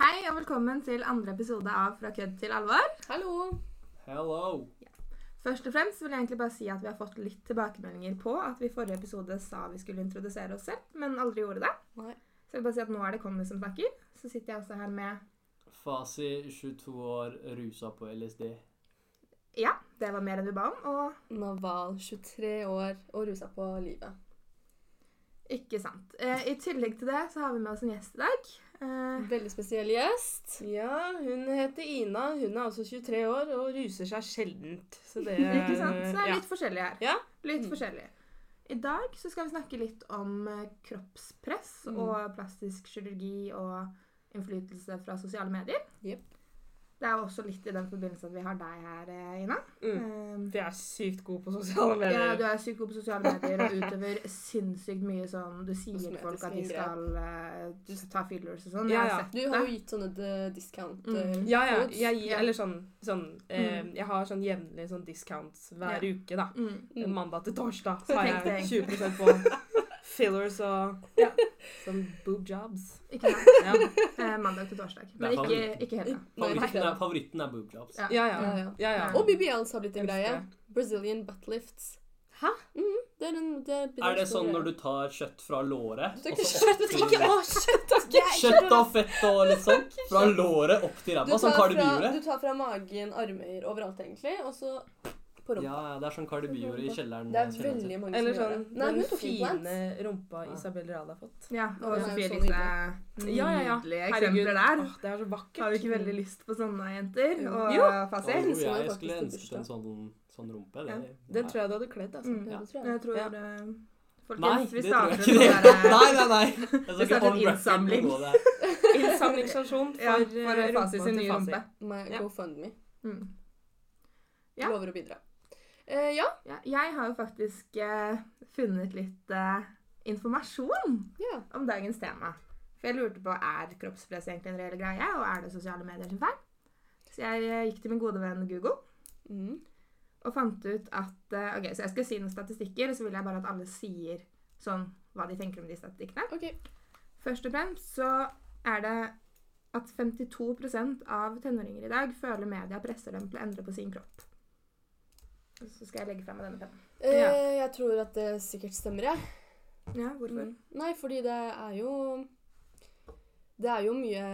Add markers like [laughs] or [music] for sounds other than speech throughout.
Hei og velkommen til andre episode av Fra kødd til alvor. Hallo! Hello! Først og fremst vil jeg egentlig bare si at vi har fått litt tilbakemeldinger på at vi i forrige episode sa vi skulle introdusere oss selv, men aldri gjorde det. Nei. Så jeg vil bare si at nå er det Conny som snakker. Så sitter jeg også her med Fasi, 22 år, rusa på LSD. Ja, det var mer enn vi ba om, og Naval, 23 år og rusa på livet. ikke sant. Eh, I tillegg til det så har vi med oss en gjest i dag. Eh, Veldig spesiell gjest. Ja, hun heter Ina. Hun er altså også 23 år og ruser seg sjeldent. Så det ikke sant? Så det er Ehm, ja. litt forskjellig her. Ja. Litt Mm. forskjellig. I dag så skal vi snakke litt om eh, kroppspress Mm. og plastisk kirurgi og innflytelse fra sosiale medier. Jep. Det er jo også litt i den forbindelse at vi har deg her, eh, Ina. Mm. Eh, De er sykt gode på sosiale medier. ja, du er sykt god på sosiale medier og utøver sinnssykt mye sånn Du sier til folk at de Kosmetiske skal eh, ta fillers og sånn. Ja, Jeg har ja. sett Du har det. jo gitt sånne de- discount Mm. eh, ja, ja, codes. jeg [laughs] gir Ja. Eller sånn, sånn eh, Jeg har sånn jevnlig sånn discounts hver uke, da. Mm. Mm. Mandag til torsdag Så så har tenk jeg 20 på fillers og ja. sånn boob jobs. Ikke sant? Ja, Eh, mandag til torsdag. Det er Men ikke, favoritten. ikke hele. Nei, nei, Favoritten er, nei. favoritten er boob jobs. Ja. ja. Ja, ja, ja. ja, ja. Og BBLs har blitt en Elsker greie. det. Brazilian butt lifts. Hæ? Mhm, det er en, det er blitt en Er det stor sånn greie. når du tar kjøtt fra låret Du tar og ikke så opp kjøtt, til- ikke å, kjøtt, takk! Kjøtt og fett og litt [laughs] sånn? Fra låret opp til Du ræva, sånn tar, fra, kardebiore? du tar fra magen, armer, overalt egentlig, og så på rumpa. Ja, ja, det er sånn kardebiore i kjelleren. Det er kjelleren sin. veldig mange Eller som gjør sånn det. Nei, hun den tok fine implants. rumpa Ja. Isabel Rad har fått. Ja, og Ja, sånn det er Sofie jo så Elise. Ja, ja, ja. Nydelige Herregud. eksempler der. Åh, det er så vakkert. Har vi ikke veldig lyst på sånne jenter? Jo. Og Jo. Å, fasit? jo, elsker det jeg faktisk skulle til ønsket en sånn, sånn rumpe. Det, Den tror jeg du hadde kledd. altså. Mm. Ja, det tror jeg. Jeg tror Ja. eh, Nei, Folkens, vi det tror jeg starter ikke. en det. sånn [laughs] Nei, der, nei, nei. Jeg skal Vi ikke starter en on record innsamling. på det. [laughs] Innsamlingsstasjon ja, for, for eh, rumpa Fasit sin til nye Fasi. rumpe. My Ja. GoFundMe. Mm. Ja. Lover å bidra. Eh, ja. Ja, jeg har jo faktisk eh, funnet litt eh, informasjon ja. om dagens tema. For jeg lurte på er kroppspress egentlig en reell greie, og er det sosiale medier sin feil? Så jeg eh, gikk til min gode venn Google Mm. og fant ut at eh, Ok, så jeg skal si noen statistikker, og så vil jeg bare at alle sier sånn hva de tenker om de statistikkene. OK. eh, Først og fremst så er det at 52 av tenåringer i dag føler media presser dem til å endre på sin kropp. Og Så skal jeg legge frem denne pennen. Eh, Ja. Jeg tror at det sikkert stemmer, jeg. Ja, hvorfor? Mm. Nei, fordi det er jo Det er jo mye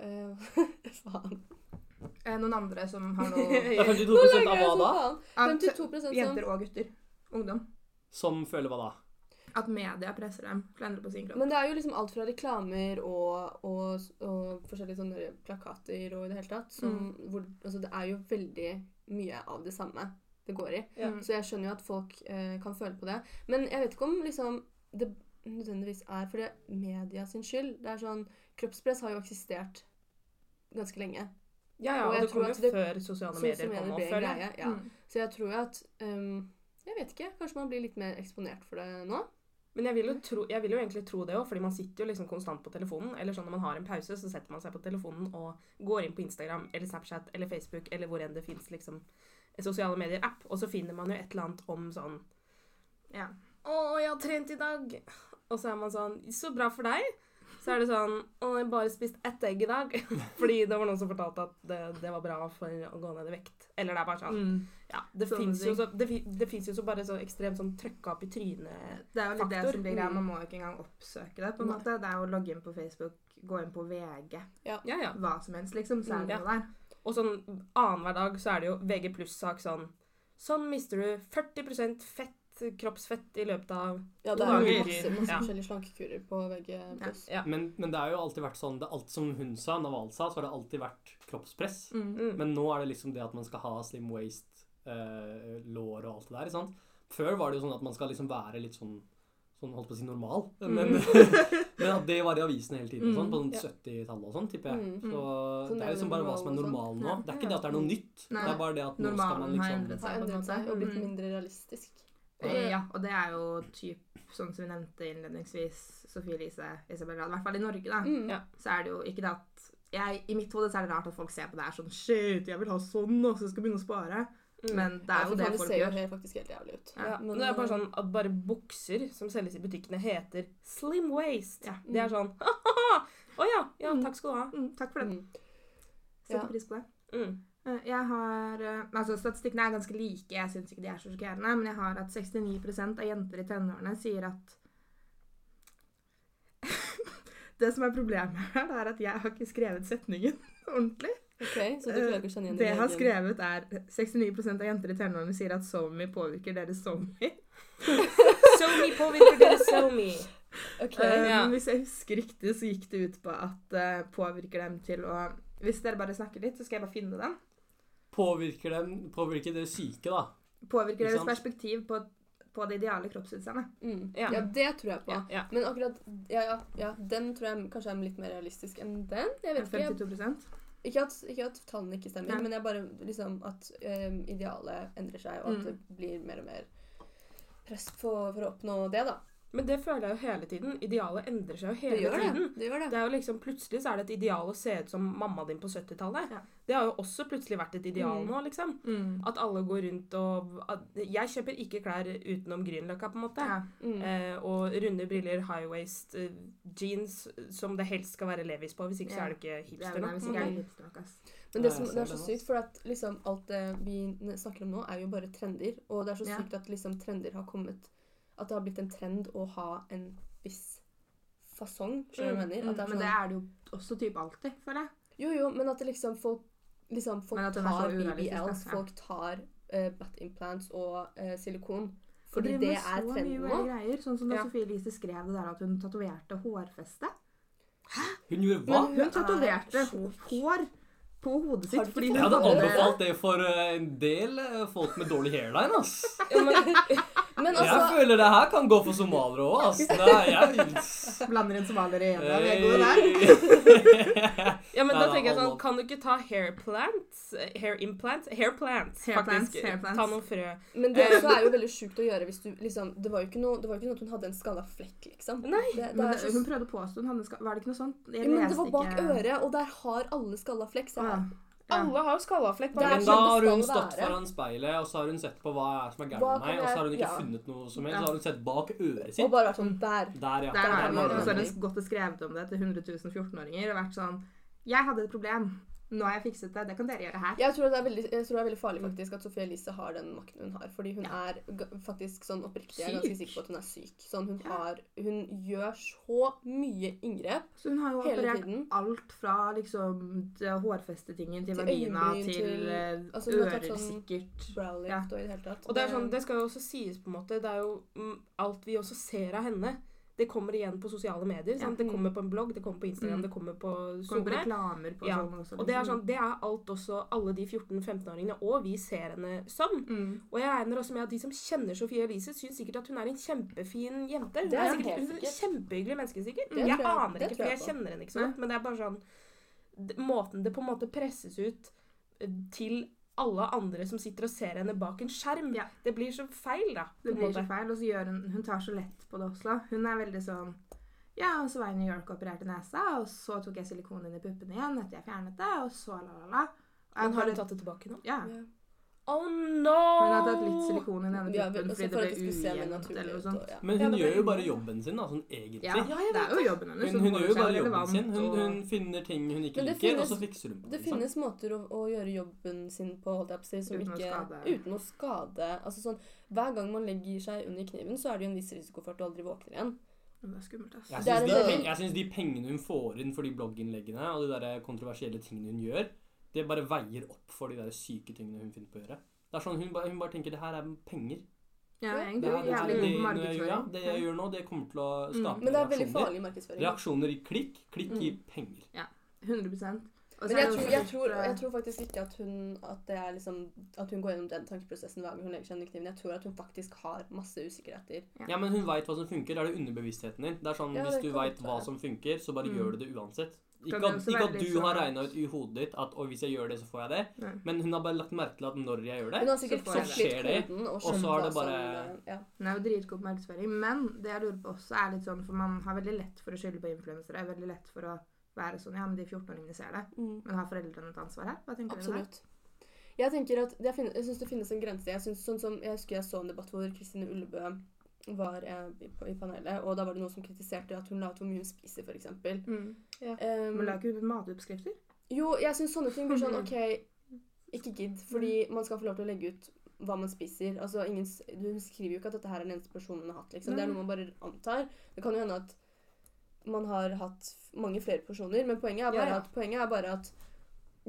eh, [laughs] Faen. Eh, noen andre som har noe Det er Ja. 52 av hva da? da? Av t- 52 som Jenter og gutter. Ungdom. Som føler hva da? At media presser dem til å endre på sin kropp. Men det er jo liksom alt fra reklamer og, og, og forskjellige sånne plakater og i det hele tatt. Som, Mm. hvor, altså det er jo veldig mye av det samme det går i. Ja. Mm. Så jeg skjønner jo at folk eh, kan føle på det. Men jeg vet ikke om liksom, det nødvendigvis er for det er media sin skyld. Det er sånn, Kroppspress har jo eksistert ganske lenge. Ja, ja, Og og, jeg det tror kom jo at det- før sosiale medier kom opp, ble en føler jeg. greie, ja. Mm. Så jeg tror jo at ehm, Jeg vet ikke. Kanskje man blir litt mer eksponert for det nå? Men jeg vil, jo tro, jeg vil jo egentlig tro det òg, fordi man sitter jo liksom konstant på telefonen. Eller sånn når man har en pause, så setter man seg på telefonen og går inn på Instagram eller Snapchat eller Facebook eller hvor enn det fins liksom en sosiale medier-app, og så finner man jo et eller annet om sånn Ja. 'Å, jeg har trent i dag.' Og så er man sånn 'Så bra for deg.' Så er det sånn 'Å, jeg har bare spist ett egg i dag.' [laughs] Fordi det var noen som fortalte at det, det var bra for å gå ned i vekt. Eller det er bare sånn Ja, det Sånne fins jo, ting. så, det, fi- det finnes jo så bare så ekstremt sånn trøkka opp i trynet Det er jo litt det Faktor. som blir greia. Mm. Man må jo ikke engang oppsøke det. på en Nei. måte. Det er jo å logge inn på Facebook, gå inn på VG, Ja, ja. hva som helst, liksom. Så er det Mm, noe der. Og sånn annenhver dag så er det jo VG pluss-sak sånn Sånn mister du 40 fett, kroppsfett i løpet av Ja, det det er er jo jo Lager. masse, masse- masse masse Ja. forskjellige slankekurer på VG+. Ja. Men, men det har jo alltid vært sånn det, er Alt som hun sa, Naval sa, så har det alltid vært kroppspress. Mm. mm. Men nå er det liksom det at man skal ha slim waist, eh, lår og alt det der. ikke sant? Før var det jo sånn at man skal liksom være litt sånn sånn holdt på å si normal. Mm. [laughs] Men, men at det var i avisene hele tiden, og sånn, på sånn ja. 70-tallet og sånn, tipper jeg. Mm, mm. Så Sånn det er liksom bare hva som er normal normalen nå. sånn. Det er ikke det at det er noe nytt. Nei. Det er bare det at nå skal man Normalen har liksom endret Har seg. på en endret seg måte. og blitt Mm. mindre realistisk. Eh, Ja, og det er jo typ, sånn som vi nevnte innledningsvis, Sofie Elise, Isabel Rad, i hvert fall i Norge, da, Mm. Ja. så er det jo ikke det at jeg, I mitt hode så er det rart at folk ser på det her sånn Shit, jeg vil ha sånn, og så skal jeg begynne å spare. Mm. Men det er jo det det folk ser jo gjør. helt- faktisk helt jævlig ut. ja. men- Men det er bare sånn at bare bukser som selges i butikkene, heter slim waist. Ja. Det er sånn Å ja, ja, Mm. takk skal du ha. Mm, takk for det. Mm. Setter Ja. pris på det. Mm. Eh, Jeg har, eh, altså Statistikkene er ganske like, jeg syns ikke de er så sjokkerende. Men jeg har at 69 av jenter i tenårene sier at [laughs] Det som er problemet her, det er at jeg har ikke skrevet setningen [laughs] ordentlig. Ok, Så eh, du klarer ikke å kjenne igjen Det jeg har din egen- skrevet, er 69 av jenter i tenårene sier at SoMe påvirker deres SoMe. So me påvirker dere so me. Ok, Um, ja. Hvis jeg husker riktig, så gikk det ut på at eh, påvirker dem til å Hvis dere bare snakker litt, så skal jeg bare finne den. Påvirker, dem, påvirker det syke, da. Påvirker Ikke deres sant? perspektiv på, på det ideale kroppsutseendet. mm. Ja. Ja, det tror jeg på. Ja, ja. Men akkurat ja, ja, ja, den tror jeg kanskje er litt mer realistisk enn den. Jeg vet ikke. 52 Ikke at, ikke at tallene ikke stemmer, Nei. men jeg bare liksom at øhm, idealet endrer seg, og at Mm. det blir mer og mer press på, for å oppnå det, da. Men det føler jeg jo hele tiden. Idealet endrer seg jo Det hele gjør det. tiden. det, gjør det. Det er jo liksom, Plutselig så er det et ideal å se ut som mamma din på 70-tallet. Ja. Det har jo også plutselig vært et ideal Mm. nå, liksom. Mm. At alle går rundt og at Jeg kjøper ikke klær utenom Grünerløkka, på en måte. Ja. Mm. Eh, og runde briller, high waist, eh, jeans som det helst skal være Levis på. Hvis ikke så Ja. er det ikke Det hipster er, nei, nok. hvis på en ikke måte. jeg er hipster nok, ass. Men det, Ja, jeg som, ser det er det så nå. sykt, for at liksom alt det vi n- snakker om nå, er jo bare trender. Og det er så Ja. sykt at liksom trender har kommet At det har blitt en trend å ha en viss fasong. Skjønner du hva jeg mener? Mm, At det er men sånn, det er det jo også type alltid, føler jeg. Jo, jo, men at det liksom folk liksom folk Men at den er så tar urealistisk, altså. da. BBLs, Ja. folk tar eh, butt implants og eh, silikon. Og Fordi driver det med er så trenden mye nå. Greier, sånn som da Ja. Sofie Elise skrev det der at hun tatoverte hårfeste. Hun gjorde hva? Men- Hun Hun er tatoverte sjuk. hår på hodet sitt Har du fordi hun fått Jeg hadde hadde- anbefalt det for eh, en del eh, folk med dårlig hairline, ass. Ja, men, Men [laughs] Jeg altså føler det her kan gå for somaliere òg, ass. Nei, jeg Blander inn somaliere igjen. Eh. ja, Vi er gode [laughs] der. [laughs] ja, men Nei, da da, tenker jeg sånn alle- Kan du ikke ta hair plants? eh, Hair implants? Hair plants, Hair plants, faktisk. hair plants. Ta noen frø. Men det også er jo veldig sjukt å gjøre hvis du liksom Det var jo ikke noe, det var jo ikke noe at hun hadde en skalla flekk, liksom. Nei, det, det Men er det, så hun prøvde å påstå hun hadde ska- Var det ikke noe sånt? Jeg Ja, men det leste var bak ikke- øret, og der har alle skalla flekk. sa Ja. jeg. Ja. Alle har jo Det skallaflekk. er bare- Men sånn da har det hun skal stått være. foran speilet, og så har hun sett på hva er det som er gærent Hva med kan meg, og så har hun jeg- ikke ja. funnet noe som helst. Ja. Så har hun sett bak øret Og sitt. bare vært sånn der. Der, ja. Der er det, var og så har det. hun gått og skrevet om det til 100 000 14-åringer og vært sånn Jeg hadde et problem. Nå har jeg fikset det. Det kan dere gjøre her. Jeg tror, det er veldig, jeg tror det er veldig farlig faktisk at Sophie Elise har den makten hun har. Fordi hun er g- faktisk sånn oppriktig jeg er ganske Syk. sikker på at hun er syk. Sånn, hun, har, hun gjør så mye inngrep Så hun har jo hele operert tingen. alt fra liksom det hårfestetingen til Til vagina øyenbryn, til, til- eh, altså, hun har ører, tatt sånn- sikkert. Browlift Ja. og i det hele tatt. Og det er sånn, det skal jo også sies på en måte, det er jo mm, alt vi også ser av henne, det kommer igjen på sosiale medier, Ja. sant? Det kommer på en blogg, det kommer på Instagram, Mm. det Mm. kommer på Sånn SoMe. reklamer på Ja, sånn også. Og det er liksom. sånn, det er alt også alle de 14-15-åringene, og vi ser henne som. liksom. mm. Og jeg regner også med at de som kjenner Sofie Elise, syns sikkert at hun er en kjempefin jente. Hun Det er, er hun sikkert, helt hun er et kjempehyggelig menneske, sikkert. Det jeg tror jeg- aner det ikke, tror for jeg jeg på. kjenner henne ikke så godt. Men det er bare sånn d- Måten det på en måte presses ut eh, til alle andre som sitter og ser henne bak en skjerm, Ja. det blir så feil, da. på Det en blir måte. så feil. Og så gjør hun Hun tar så lett på det også. Hun er veldig sånn Ja, og så var jeg i New York og opererte nesa, og så tok jeg silikon inn i puppene igjen etter jeg fjernet det, og så la, la, la. Og jeg Men har bare- hun tatt det tilbake nå? Ja. Ja. Oh no! Hun har tatt litt silikon i den ene Ja, vel, puppen altså, fordi for at det det ble skulle se mer ujevnt naturlig eller noe ut. sånt. og- Ja. Men Ja, hun det gjør jo var- bare jobben sin, da, sånn egentlig. Ja, det er jo jobben hennes. Hun, hun holder gjør jo seg bare jobben relevant, sin. Hun, og- hun finner ting hun ikke Men det liker, finnes- og så fikser hun på Det det. ikke sant? finnes måter å, å gjøre jobben sin på, holdt jeg på å si, som Uten å ikke skade. Uten å skade. Altså sånn, hver gang man legger seg under kniven, så er det jo en viss risiko for at du aldri våkner igjen. Men Det er skummelt, ass. Jeg Det er syns de, en peng- veldig- jeg synes de pengene hun får inn for de blogginnleggene og de der kontroversielle tingene hun gjør, det bare veier opp for de der syke tingene hun finner på å gjøre. Det er sånn, Hun bare, hun bare tenker det her er penger. Ja, Det, egentlig. er, det, er, Jævlig det, god på når jeg, gjør- ja, det jeg markedsføring. gjør nå, det kommer til å skape Mm. Men det er veldig reaksjoner. farlig Mm. markedsføring. Reaksjoner i klikk. Klikk gir penger. 100 Og så er det Men jeg tror, også jeg, litt, tror, eh, jeg tror faktisk ikke at hun at, det er liksom, at hun går gjennom den tankeprosessen hver gang hun legger seg under kniven. Jeg tror at hun faktisk har masse usikkerheter. Ja, men hun veit hva som funker. Det er det underbevisstheten din. Det er sånn, Ja, Hvis det du kan veit godt hva være. som funker, så bare Mm. gjør du det uansett. Kan Ikke det at, også ikke være at litt du har sånn- regna ut i hodet ditt at «Å, hvis jeg gjør det, så får jeg det. Nei. Men hun har bare lagt merke til at når jeg gjør det Hun har Så sikkert får jeg fått litt det. Skjer det, koden og så skjønt er hva det som eh, bare- ja. Hun er jo dritgod på markedsføring, men det jeg lurer på også er litt sånn, for man har veldig lett for å skylde på influensere. Veldig lett for å være sånn Ja, men de 14-åringene ser det. Mm. Men har foreldrene et ansvar her? Hva tenker dere der? Absolutt. Jeg tenker at jeg, fin- jeg synes det finnes en grense. Jeg, synes, sånn som, jeg husker jeg så en debatt hvor Kristine Ullebø var eh, i, på- i panelet, og da var det noen som kritiserte at hun la ut hvor mye hun spiser, f.eks. Mm. Um, Men la ikke ut matoppskrifter? jo, jeg syns sånne ting blir sånn OK, ikke gidd. Fordi man skal få lov til å legge ut hva man spiser. Altså, ingen, s- hun skriver jo ikke at dette her er den eneste personen hun har hatt. Liksom. Det er Nei. noe man bare antar. Det kan jo hende at man har hatt f- mange flere personer, men poenget er bare, Ja, ja. At, poenget er bare at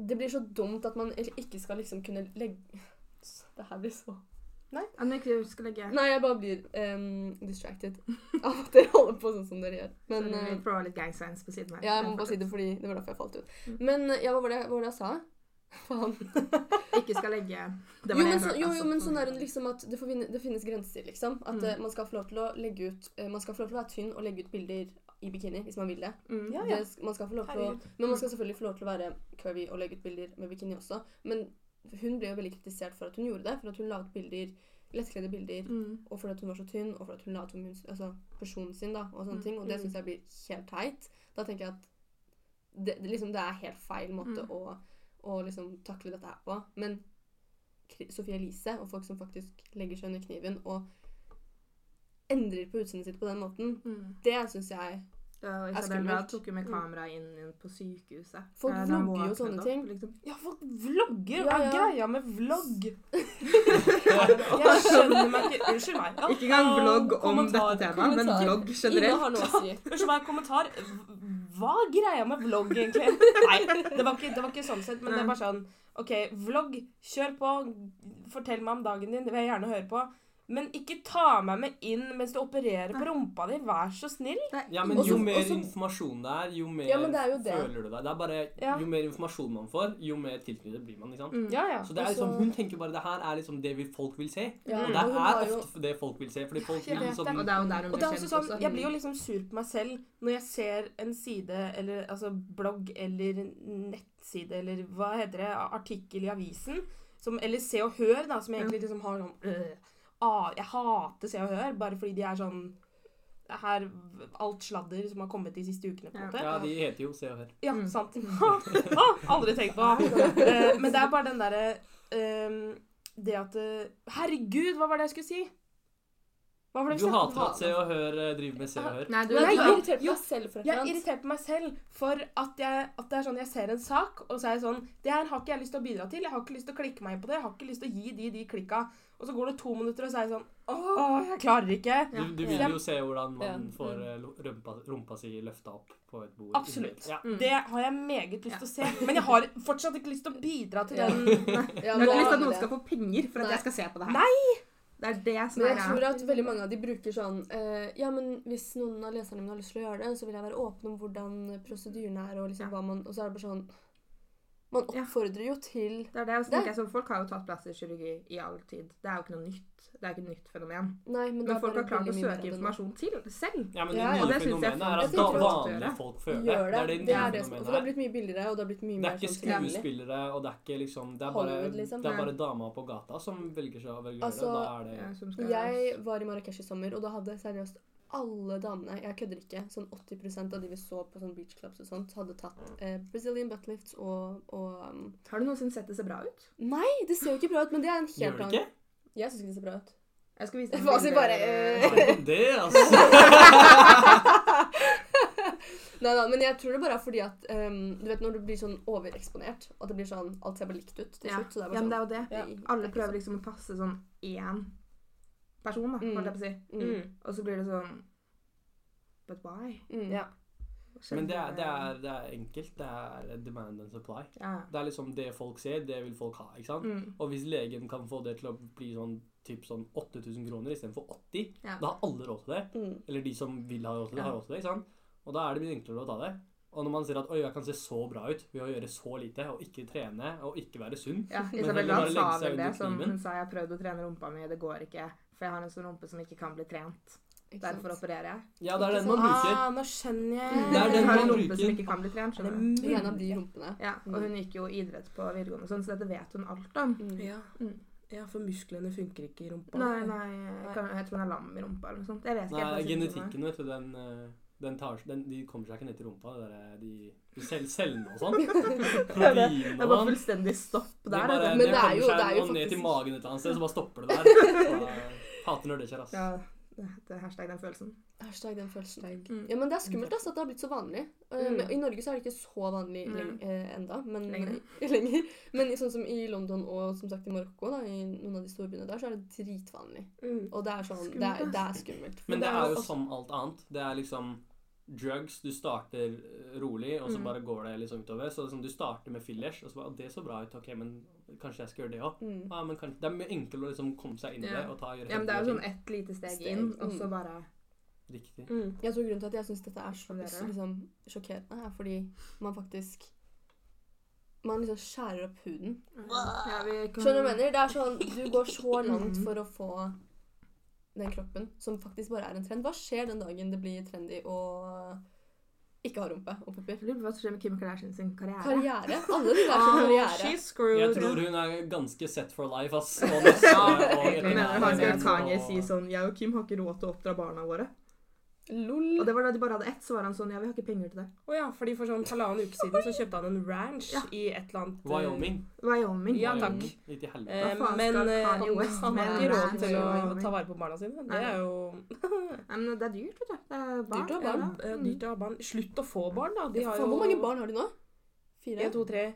det blir så dumt at man ikke skal liksom kunne legge [laughs] Det her blir så Ja, men ikke skal legge Nei, jeg bare blir ehm, distracted [laughs] av at dere holder på sånn som dere gjør. Men Sorry, eh, vi prøver litt gang signs på siden her. ja, jeg må bare si det fordi det var derfor jeg falt ut. Men eh, ja, hva var det, hva var det jeg sa? [laughs] Faen. [laughs] Ikke skal legge Det det Jo, men, jeg så, hørte, jo, altså. jo, men sånn er det liksom at det, får vinne- det finnes grenser, liksom. At Mm. eh, man skal få lov til å legge ut eh, Man skal få lov til å være tynn og legge ut bilder i bikini hvis man vil det. Mm. Ja, det sk- man skal få lov til å, Herregud. men man skal selvfølgelig få lov til å være curvy og legge ut bilder med bikini også. Men hun ble jo veldig kritisert for at hun gjorde det. For at hun la ut bilder, lettkledde bilder Mm. og fordi at hun var så tynn, og fordi at hun la ut om hun, altså, personen sin, da, og sånne Mm. ting. Og det Mm. syns jeg blir helt teit. Da tenker jeg at det, det, liksom, det er helt feil måte Mm. å, å liksom, takle dette her på. Men Kri- Sophie Elise og folk som faktisk legger seg under kniven og endrer på utseendet sitt på den måten, Mm. det syns jeg Ja, og Er Isabel skummelt. Rad tok jo med kamera inn, inn på sykehuset. Eh, Folk Der han vlogger jo våknet sånne opp, ting. Liksom. Ja, folk vlogger! Ja, Hva ja. er greia med [laughs] vlogg? Jeg skjønner meg ikke Unnskyld meg. Ja, Ikke engang vlogg og om dette kommentar- temaet, men kommentar. vlogg Ingen generelt. har noe å si. Unnskyld meg, kommentar. Hva er greia med vlogg, [laughs] egentlig? Nei, det var ikke, det var ikke sånn sett, men det er bare sånn OK, vlogg. Kjør på. Fortell meg om dagen din. Det vil jeg gjerne høre på. Men ikke ta meg med inn mens du opererer på rumpa di. Vær så snill. Det er Ja, men ingen- Også- jo mer også- informasjon det er, jo mer Ja, men det er jo det. føler du deg. Det er bare, Ja. Jo mer informasjon man får, jo mer tilknyttet blir man. ikke sant? Mm. Ja, ja. Så det er liksom, også- Hun tenker bare det her er liksom det vi folk vil se. Ja, Og det Mm. og hun er har jo- ofte det folk vil se. fordi folk vil jeg vet liksom... Og det er jo der hun Og det er også sånn, Jeg blir jo Mm. liksom sur på meg selv når jeg ser en side, eller altså blogg eller nettside eller hva heter det, artikkel i avisen, som, eller Se og Hør, da, som jeg egentlig liksom har sånn øh, ah, Jeg hater Se og Hør, bare fordi de er sånn det er her, Alt sladder som har kommet de siste ukene. på en Ja. måte. Ja, de heter jo Se og Hør. Ja, Mm. [laughs] sant. Aldri tenkt på. Eh, Men det er bare den derre eh, Det at eh, Herregud, hva var det jeg skulle si? Hva var det vi Du snakket om? hater at Se og Hør eh, driver med Se og Hør. Nei, du, Men Nei, jeg jo, er irritert på jo, meg selv for et Jeg eller er annet. irritert på meg selv for at, jeg, at det er sånn jeg ser en sak, og så er jeg sånn Det her har ikke jeg lyst til å bidra til. Jeg har ikke lyst til å klikke meg inn på det. Jeg har ikke lyst til å gi de de klikka. Og så går det to minutter, og så er jeg sånn Åh, jeg klarer ikke. Du, Ja. du vil Ja. jo se hvordan man Ja. får eh, lo- rumpa, rumpa si løfta opp på et bord. Absolutt. Ja. Mm. Det har jeg meget lyst til å se. Men jeg har fortsatt ikke lyst til å bidra til Ja. den. Ja, jeg har nå ikke lyst til er at det noen det. skal få penger for at Nei. jeg skal se på det her. Nei! Det er det som Men er jeg greia. tror at veldig mange av de bruker sånn eh, Ja, men hvis noen av leserne mine har lyst til å gjøre det, så vil jeg være åpen om hvordan prosedyrene er, og liksom Ja. hva man Og så er det bare sånn Man Ja. oppfordrer jo til Det er det, og så Det- tenker jeg sånn, Folk har jo tatt plastikkirurgi i all tid. Det er jo ikke noe nytt. Det er ikke et nytt fenomen. Nei, men, det Men er folk bare har klart å veldig mye søke bedre nå. informasjon til selv. Ja, men Ja, ja. det nye Det synes jeg fenomenet er jeg at tenker da at også det gjør vanlige det. folk føler det. Gjør det. Det er det det, nye er det som, for det fenomenet har er. blitt mye billigere, og det har blitt mye Det mer er ikke sånn tilgjengelig. skuespillere, og det er ikke liksom Det er bare, Hollywood, liksom. det er Ja. bare dama på gata som velger seg å velge å Altså, gjøre det. Da er det Ja, eh, som skal Jeg var i Marrakech i sommer, og da hadde seriøst alle damene jeg kødder ikke, sånn 80 av de vi så på sånn beach clubs og sånt, hadde tatt eh, Brazilian butt lifts og, og um, Har du noensinne sett det ser bra ut? Nei, det ser jo ikke bra ut, men det er en Gjør helt det annen ikke? Jeg syns ikke det ser bra ut. Jeg skal vise deg Hva sier bilder. bare, eh, Nei, men det, altså. Nei da, men jeg tror det bare er fordi at ehm, Du vet når du blir sånn overeksponert, at det blir sånn Alt ser bare likt ut til ja. slutt. Så det er ja, bare men det er sånn jo det. Ja. Alle prøver liksom å passe sånn én person, da, Mm. holdt jeg på å si. mm, Og så blir det sånn But why? mm. Ja. Men det er, det, er, det er enkelt. Det er demand and supply. ja. Det er liksom det folk ser, det vil folk ha. ikke sant? Mm. Og hvis legen kan få det til å bli sånn typ sånn 8000 kroner istedenfor 80, Ja. da har alle råd til det. Mm. Eller de som vil ha råd til det, har Ja. råd til det. ikke sant? Og da er det mye enklere å ta det. Og når man ser at oi, jeg kan se så bra ut ved å gjøre så lite, og ikke trene, og ikke være sunn [laughs] Ja, Men Isabel heller bare Rad sa legge seg vel det. under Som kniven. hun sa, jeg har prøvd å trene rumpa mi, det går ikke. For jeg har en sånn rumpe som ikke kan bli trent. Ikke sant? Derfor opererer jeg. Ja, det er Ikke den man bruker. Ah, nå skjønner jeg. Det er [laughs] den jeg har en man rumpe som bruker. ikke kan bli trent, Er det skjønner du. Hun er en av de mulig? rumpene. Ja, og hun gikk jo idrett på videregående, og sånn, så dette vet hun alt om. Mm. Ja. Mm. ja, for musklene funker ikke i rumpa. Nei, nei, jeg, kan, jeg tror hun er lam i rumpa eller noe sånt. Jeg vet ikke Nei, helt hva symptomene er. genetikken, vet du, den, eh, den tar, den, de kommer seg ikke ned til rumpa. Det der, eh, de, de selv, cellene [laughs] og [laughs] sånn. Det er bare Proteinene. fullstendig stopp De der. altså. bare, vet du. Men det det er kommer jo- seg det er jo nå ned til [laughs] faktisk- magen et eller annet sted, så bare stopper det der. Så, eh, Hater nerdekjær, ass. Ja, heter hashtag den følelsen. Hashtag den følelsen. Mm. Ja, men Det er skummelt altså, at det har blitt så vanlig. Eh, Mm. men I Norge så er det ikke så vanlig Nei. leng eh, enda, men, Lenger. [laughs] lenger. men i- sånn som i London og som sagt i Marokko, da, i noen av de store byene der, så er det dritvanlig. Og det er sånn, det er, Mm. Skummelt, det er skummelt. Men det det er jo er jo sånn- også- som alt annet. Det er liksom drugs. Du starter eh, rolig, og så Mm. bare går det liksom utover. Så liksom, du starter med fillers, og så bare «Å, Det så bra ut. Ok, men kanskje jeg skal gjøre det òg. Mm. Ja, men kanskje, det er mye enklere å liksom komme seg inn i Ja. det og ta, gjøre Ja, men det er jo hele sånn ett lite steg, Steg, inn, og mm. så bare ting. Riktig. Mm. Jeg tror grunnen til at jeg syns dette er så, Dere? så liksom, sjokkerende, er fordi man faktisk Man liksom skjærer opp huden. ja, vi kan- Skjønner du hva jeg mener? Det er sånn, Du går [laughs] så langt Mhm. for å få den kroppen som faktisk bare er en trend. Hva skjer den dagen det blir trendy å ikke ha rumpe og pupper? Jeg lurer på hva som skjer med Kim Kardashian sin karriere. Karriere. Alle de der [laughs] som Ah, har karriere. she's screwed. Jeg tror hun er ganske set for life, ass. [laughs] Og neste, og Jeg mener, har ikke hørt Kanye og- si sånn Jeg og Kim har ikke råd til å oppdra barna våre. Og Lol. det var da de bare hadde ett, så var han sånn Ja, vi har ikke penger til det. Å ja, fordi for sånn halvannen uke siden så kjøpte han en ranch Ja. i et eller annet eh, Wyoming. Wyoming. Ja, Wyoming. takk. Litt i helvete. Eh, Hva faen men skal eh, Kanye han West han med har en ikke råd ranch til i å Wyoming? ta vare på barna sine. Det Nei. er jo Ja, men det er dyrt, vet du. Det er barn. Dyrt å ha ja, barn. da. eh, Mm. dyrt å ha barn. Slutt å få barn, da. De har Faen, jo hvor mange barn har de nå? Fire? En, to, tre,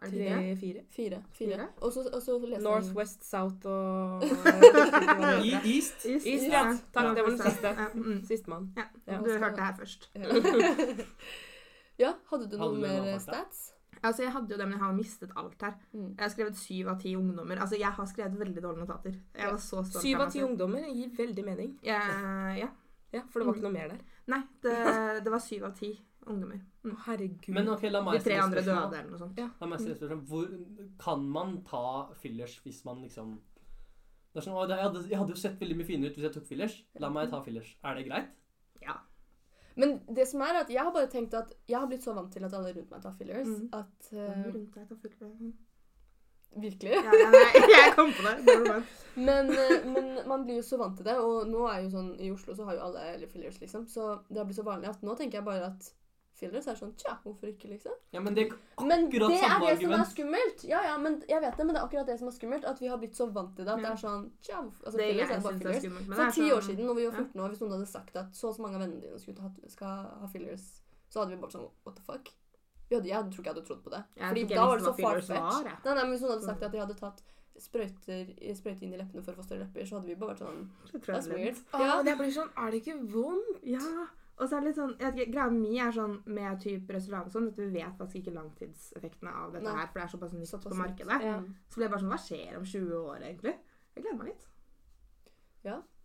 Er det tre, det? fire. Fire. Fire. Fire? Og så og så leser North, han West, South og Eh, I East. Is- Is, is- ja. ja. Takk, det var den Ja, siste. ja, mm. Sistemann. Ja, Ja. du hørte det her først. [laughs] Ja, hadde du Hadde noen du noen mer fakta? stats? Altså, jeg hadde jo det, men jeg har mistet alt her. Mm. Jeg har skrevet syv av ti ungdommer. Altså, jeg har skrevet veldig dårlige notater. Jeg Ja. var så stolt Syv meg av ti selv. ungdommer gir veldig mening. Jeg- Ja. Ja, For det var ikke noe mer der. Nei, det, det var syv av ti ungdommer. Å, Herregud. Men ok, la De meg tre stille andre spørsmål. døde eller noe sånt. La meg stille spørsmål. Hvor, kan man ta fillers hvis man liksom det er sånn, å, det, jeg, hadde, jeg hadde jo sett veldig mye finere ut hvis jeg tok fillers. La meg ta fillers. Er det greit? Ja. Men det som er at jeg har bare tenkt at jeg har blitt så vant til at alle rundt meg tar fillers, Mm. at Hvem eh, rundt deg tar full løgn? Virkelig. [laughs] Ja, ja, nei, [laughs] jeg kom på det. det var det. Men, eh, men man blir jo så vant til det, og nå er jo sånn i Oslo så har jo alle eller fillers, liksom. Så det har blitt så vanlig at nå tenker jeg bare at fillers er sånn tja, hvorfor ikke, liksom. Ja, men det er Men det akkurat er samme det som er argument. skummelt. Ja, ja, men jeg vet det, men det er akkurat det som er skummelt. At vi har blitt så vant til det at det er sånn tja, hvorfor- altså, Det jeg fillers er bare synes er fillers. skummelt. men det For er ti sånn- år siden, når vi var ja. 14 år, hvis noen hadde sagt at så og så mange av vennene dine skulle ta, skal ha fillers, så hadde vi bare sånn what the fuck? Vi hadde, jeg tror ikke jeg hadde trodd på det. Jeg Fordi tror ikke jeg da var det så visste hva fillers farfetch. var, Mm. jeg. Nei, nei, men hvis noen hadde sagt at de hadde tatt sprøyter, eh, sprøyte inn i leppene for å få større lepper, så hadde vi bare vært sånn Det tror jeg That's ble- weird. Ja, Ja. det blir sånn Er det ikke vondt? Ja. Og så er det litt sånn, jeg vet ikke, Greia mi er sånn med typ restaurant og sånn, at vi vet faktisk ikke langtidseffektene av dette Nei. her, for det er såpass nytt Såpass på nytt. markedet. Mm. Ja. Så ble jeg bare sånn Hva skjer om 20 år, egentlig? Jeg gleder meg litt.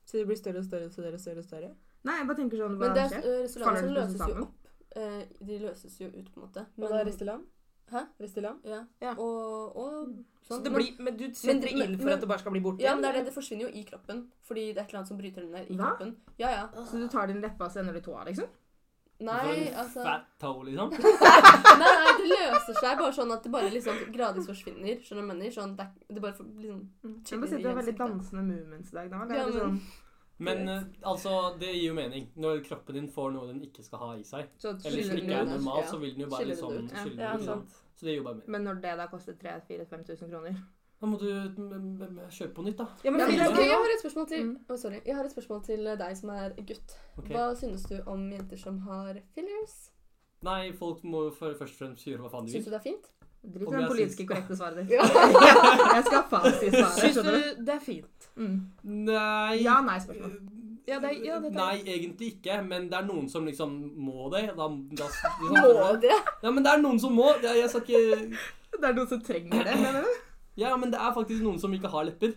Så det blir større og større og større og større. og større. Nei, jeg bare tenker sånn Hva Men det er skjer? eh, Faller restauranter som de plutselig løses jo sammen? opp. Eh, De løses jo ut, på en måte. Og da er Resteland? Hæ? Resteland? Ja. Ja. Og, og Mm. Så sånn. det Men- blir, men du setter men- inn for men- at det bare skal bli borte? ja, men det, er det, det forsvinner jo i kroppen. Fordi det er et eller annet som bryter den ned i Hva? kroppen. Ja, ja. Så du tar din leppe og sender det i tåa, liksom? For Nei, en altså Fat toe, liksom. [laughs] Nei, nei, det løser seg bare sånn at det bare liksom gradvis forsvinner. Skjønner du hva jeg mener? Sånn, det, er- det bare for, liksom Mm. Jeg bare sitter og har veldig dansende movements i dag. Da. Det er Ja, litt sånn, Men eh, altså, det gir jo mening. Når kroppen din får noe den ikke skal ha i seg, så eller som skiller Skiller ikke den er ut. ut. normal, Ja. så vil den jo bare Skiller liksom den ut. Ja. skille Ja, Mm. ut. sant. sant? Så det gir jo bare mening. Men når det da koster 3000-5000 kroner Da må du mm, mm, kjøpe på nytt, da. Ja, men Ja, Ok, men fordi- det er jeg har et spørsmål til Mm. Å, sorry. Jeg har et spørsmål til deg som er gutt. Ok. Hva synes du om jenter som har fillers? Nei, folk må jo for- først og fremst gjøre hva faen de Syns vil. du det er fint? Drit Om i det jeg politisk syns- korrekte svaret ditt. [laughs] [laughs] Ja. jeg skal ha fasitsvaret. Syns skjønner du? du det er fint? Mm. Nei Ja, nei, spørsmål. Ja, det er- ja, det er- Nei, egentlig ikke, men det er noen som liksom må det. Da, da, liksom- Må det? Ja, men det er noen som må. Jeg, jeg skal ikke Det er noen som trenger det, mener du? Ja, men det er faktisk noen som ikke har lepper.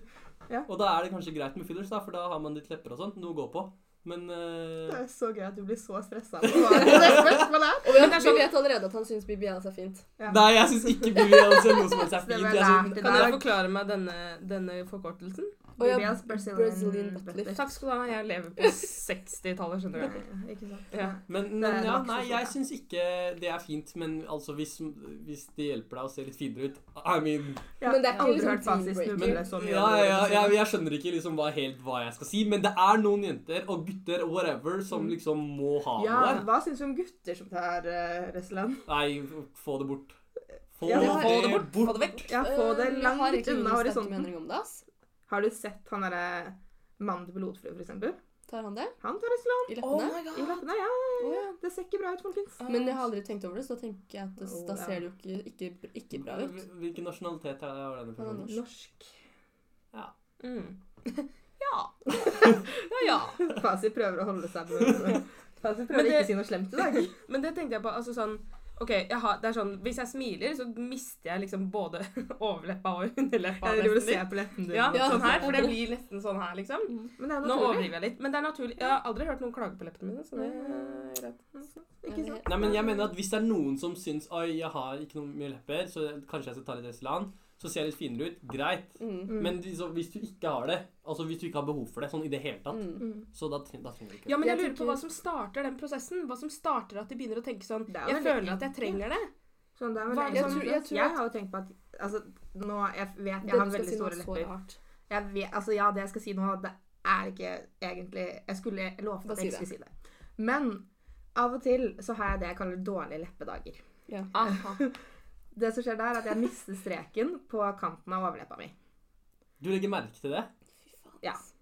Ja. Og da er det kanskje greit med fillers, da, for da har man litt lepper og sånt. Noe å gå på. Men eh, Det er så gøy at du blir så [laughs] stressa av å svare på det spørsmålet her. Og vi, vi vet allerede at han syns BBS er fint. Ja. Nei, jeg syns ikke BBL ser noe som helst er Det fint. var Jeg lært synes, i Kan dere dag. forklare meg denne, denne forkortelsen? Og ja, BBS, Brazilian Brazilian butt butt lift. Takk skal du ha. Jeg lever på 60-tallet, skjønner [laughs] du. Nei, Ikke sant. Ja. men, Det men er ja, nok så nei, sånn, ja. jeg syns ikke det er fint. Men altså, hvis, hvis det hjelper deg å se litt finere ut I mean Ja, Men det jeg er ikke har aldri liksom hørt fasit deal-breaker. snuble men, så ja, mye. ja, over det ja, siste. jeg, jeg skjønner ikke liksom hva, helt hva jeg skal si, men det er noen jenter og gutter og whatever som liksom må ha Mm. ja, noe. hva syns du om gutter som tar uh, Restland? Nei, få det bort. Få, Ja, få det bort. Få det vekk. Ja, få det Eh, jeg har langt egentlig unna ingen sterke horisonten. meninger om det, ass. Har du sett han derre mannen til pilotfrue, for eksempel? Tar han det Han tar Islam i leppene? my i leppene, ja. Å, ja. Det ser ikke bra ut, folkens. Men jeg har aldri tenkt over det, så da tenker jeg at det, Å, da ja. ser det jo ikke, ikke, ikke bra ut. Hvil- Hvilken nasjonalitet er er Han denne er personen? norsk. Norsk. Ja. [laughs] Mm. ja. ja, ja. Fasi prøver å holde seg på Fasi prøver å Men det- ikke si noe slemt i dag. Men det tenkte jeg på, altså sånn Ok, jeg har, det er sånn, Hvis jeg smiler, så mister jeg liksom både [laughs] overleppa og underleppa. Jeg driver og nesten litt. ser på leppen din. Ja, Ja. sånn her, [laughs] for det blir nesten sånn her, liksom. Men det er Nå naturlig. overdriver jeg litt, men det er naturlig. Jeg har aldri hørt noen klage på leppene mine, så Eh, det Mm. er greit. Ikke sant? Nei, men jeg mener at Hvis det er noen som syns Oi, jeg har ikke noe mye lepper, så kanskje jeg skal ta litt Estland, så ser jeg litt finere ut. Greit. Mm. Mm. Men liksom, hvis du ikke har det, altså hvis du ikke har behov for det sånn i det hele tatt, Mm. Mm. så da, tre- da trenger du ikke Ja, men jeg Jeg lurer på tenker- hva som starter den prosessen. Hva som starter at de begynner å tenke sånn Det er Jeg vel- føler at jeg trenger det. Sånn, det er vel Hva- egentlig jeg sånn- tror- jeg tror jeg at- har jo tenkt på at altså, nå, Jeg vet Det jeg har du skal veldig si noe store så lepper. rart. Jeg vet, altså ja, det jeg skal si nå, det er ikke egentlig Jeg skulle lovt Bare at jeg ikke si skulle si det. Men av og til så har jeg det jeg kaller dårlige leppedager. Ja. Det som skjer der, er at jeg mister streken på kanten av overleppa mi. Du legger merke til det? Fy faen. Ja. ass.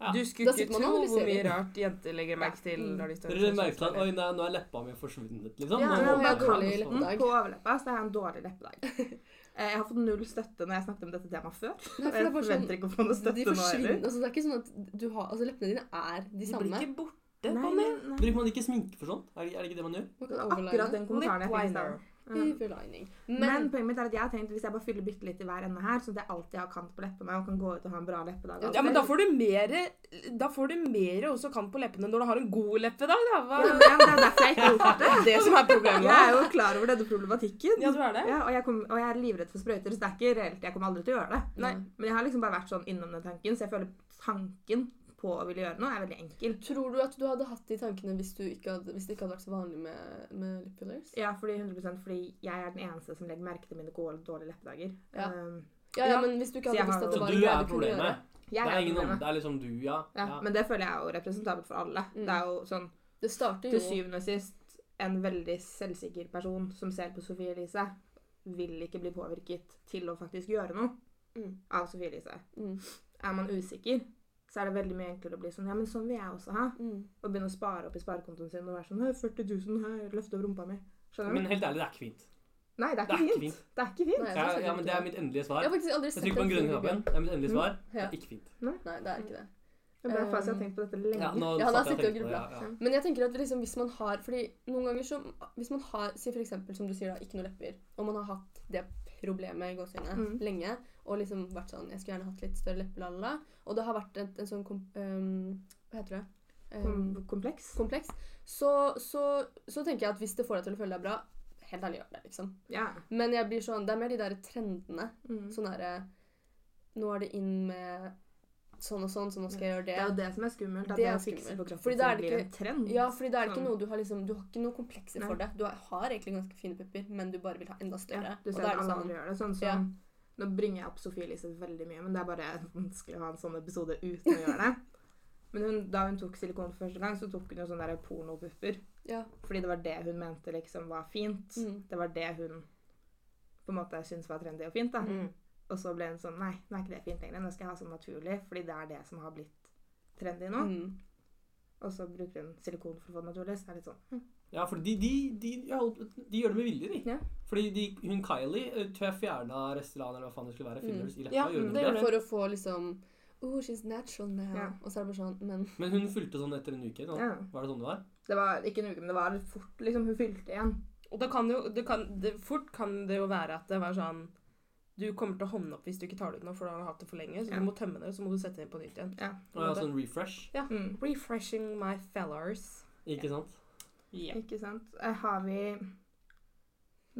Ja. [laughs] Du Da skulle sitter ikke man og tro hvor analyserer. mye rart jenter legger merke til Mm. når de står sånn. Dere legger merke til at Oi, nei, nå er leppa mi forsvunnet, liksom? Ja, ja, Nå det åpner er jeg dårlig den, og leppedag. På overleppa så er jeg en dårlig leppedag. Eh, Jeg har fått null støtte når jeg snakket om dette temaet før. Nei, for det jeg er bare sånn- forventer ikke å få noe De støtte nå forsvinner. heller. Altså, det er ikke sånn at du har Altså, leppene dine er de De blir samme. ikke borte. Nei, Bonnie. nei, så- nei. Bruker man ikke sminke for sånt? Er det, er det ikke det man gjør? Man kan Akkurat overline. den kommentaren jeg fikk i Lip-liner. stad. Ja. Overlining. Men Men poenget mitt er at jeg har tenkt hvis jeg bare fyller bitte litt i hver ende her, sånn at jeg alltid har kant på leppene og kan gå ut og ha en bra leppedag. Ja, men da får du mere Da får du mere også kant på leppene når du har en god leppedag, da. Hva Ja, men Det er derfor jeg ikke har gjort [laughs] det. er det som er problemet? Jeg er jo klar over denne problematikken. Ja, du er det? Ja, og, jeg kom, og jeg er livredd for sprøyter, så det er ikke reelt. Jeg kommer aldri til å gjøre det. Nei. Men jeg har liksom bare vært sånn innom den tanken, så jeg føler tanken på å ville gjøre noe er veldig enkel. tror du at du hadde hatt de tankene hvis, du ikke hadde, hvis det ikke hadde vært så vanlig med, med lip fillers? Ja, fordi 100 fordi jeg er den eneste som legger merke til mine gode, dårlige leppedager. Ja. Um, Ja, ja, Ja. men hvis du ikke Så jeg hadde visst har jo- at det Så var en du greie er du kunne gjøre. problemet? jeg Det er ingen problemet. andre. Det er liksom du, ja. Ja, Men det føler jeg er jo representabelt for alle. Mm. Det er jo sånn Det starter til jo syvende og sist en veldig selvsikker person som ser på Sofie Elise, vil ikke bli påvirket til å faktisk gjøre noe Mm. av Sofie Elise. Mm. Er man usikker, så er det veldig mye enklere å bli sånn Ja, men sånn vil jeg også ha. mm. Og begynne å spare opp i sparekontoen sin og være sånn «Hei, 40 000, her, løfte opp rumpa mi. Skjønner Men du? helt ærlig, det er ikke fint. Nei, det er Det ikke er fint. ikke fint. Det er ikke fint. Nei, jeg Ja, synes ja, men Det er mitt endelige Jeg svar. har faktisk aldri Jeg sett trykker på den grønne full knappen. video. Det er mitt endelige svar. Det Ja. er ikke fint. Nei, det er ikke det. Det er bare fast Um, jeg har tenkt på dette lenge. Ja, nå Ja, han har satt jeg sittet og tenkte på det, grublet. ja, ja. Men jeg tenker at liksom, hvis man har Fordi noen ganger så Hvis man har, si for eksempel som du sier da, ikke noe lepper, og man har hatt det problemet i gåseøynene Mm. lenge, og liksom vært sånn Jeg skulle gjerne hatt litt større lepper, la, la, la, og det har vært en, en sånn kom, øhm, Hva heter det? Øhm, Kom- Kompleks. kompleks. Så, så, så tenker jeg at hvis det får deg til å føle deg bra, helt ærlig gjør det, liksom. Ja. Men jeg blir sånn Det er mer de der trendene. Mm. Sånn derre Nå er det inn med sånn og sånn, så nå skal jeg gjøre Det er jo det som er skummelt. At Det det, er å fikse skummelt. på kroppen Fordi da er sin det blir ikke- en trend. Ja, fordi da er det ikke Sånn. noe du har liksom Du har ikke noe komplekser for det. Du har, har egentlig ganske fine pupper, men du bare vil ha enda større. Ja, du og ser da at er det alle sånn andre gjør det. Sånn som, Ja. Nå bringer jeg opp Sofie Elise veldig mye, men det er bare vanskelig å ha en sånn episode uten å gjøre det. [laughs] Men hun, da hun tok silikon for første gang, så tok hun jo sånne der pornopupper. Ja. Fordi det var det hun mente liksom var fint. Mm. Det var det hun på en måte syntes var trendy og fint. da. Mm. Og så ble hun sånn Nei, nå er ikke det fint lenger. Nå skal jeg ha sånn naturlig, fordi det er det som har blitt trendy nå. Mm. Og så bruker hun silikon for å få det naturlig. Så er det litt sånn hm. Ja, for de, de, de, ja, de gjør det med vilje, de. Ja. Fordi de, hun Kylie eh, tror jeg fjerna Restelan eller hva faen det skulle være, fillers i leppa. Ja, gjorde hun det ikke gjorde det? For å få liksom Oh, she's natural now. Ja. Og så er det bare sånn Men Men hun fulgte sånn etter en uke. Sånn. Ja. Var det sånn det var? Det var ikke en uke, men det var fort. liksom, Hun fylte igjen. Og da kan jo det kan, det, Fort kan det jo være at det var sånn Du kommer til å hånde opp hvis du ikke tar det ut nå, for du har hatt det for lenge. Så Ja. du må tømme det, og så må du sette det inn på nytt igjen. Ja. På en Ja, måte. sånn refresh. Mm. Refreshing my fellers. Ikke sant? Ikke sant. Eh, Har vi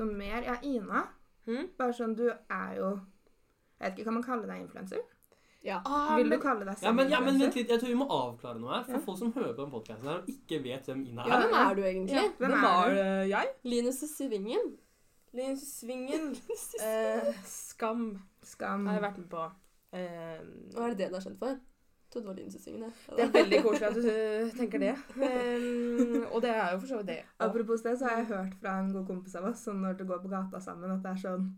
noe mer? Ja, Ina. Mm. Bare sånn, du er jo Jeg vet ikke, Kan man kalle deg influenser? ja. Ah, Vil du men, kalle deg Ja, men, ja, men vent self-influencer? litt, jeg tror vi må avklare noe her. For Ja. folk som hører på den podkasten her og ikke vet hvem ja, Ina er. Ja. Hvem er du egentlig? ja, Hvem hvem er var du? eh, jeg? Linus i Svingen. [laughs] Linus Svingen. [laughs] Eh, skam Skam. har jeg vært med på. Eh, Og er det det det er kjent for? Trodde det var Linus i Svingen. det er [laughs] veldig koselig at du eh, tenker [laughs] det. Eh, og det er jo for så vidt det. Og, Apropos det, så har jeg hørt fra en god kompis av oss sånn når du går på gata sammen, at det er sånn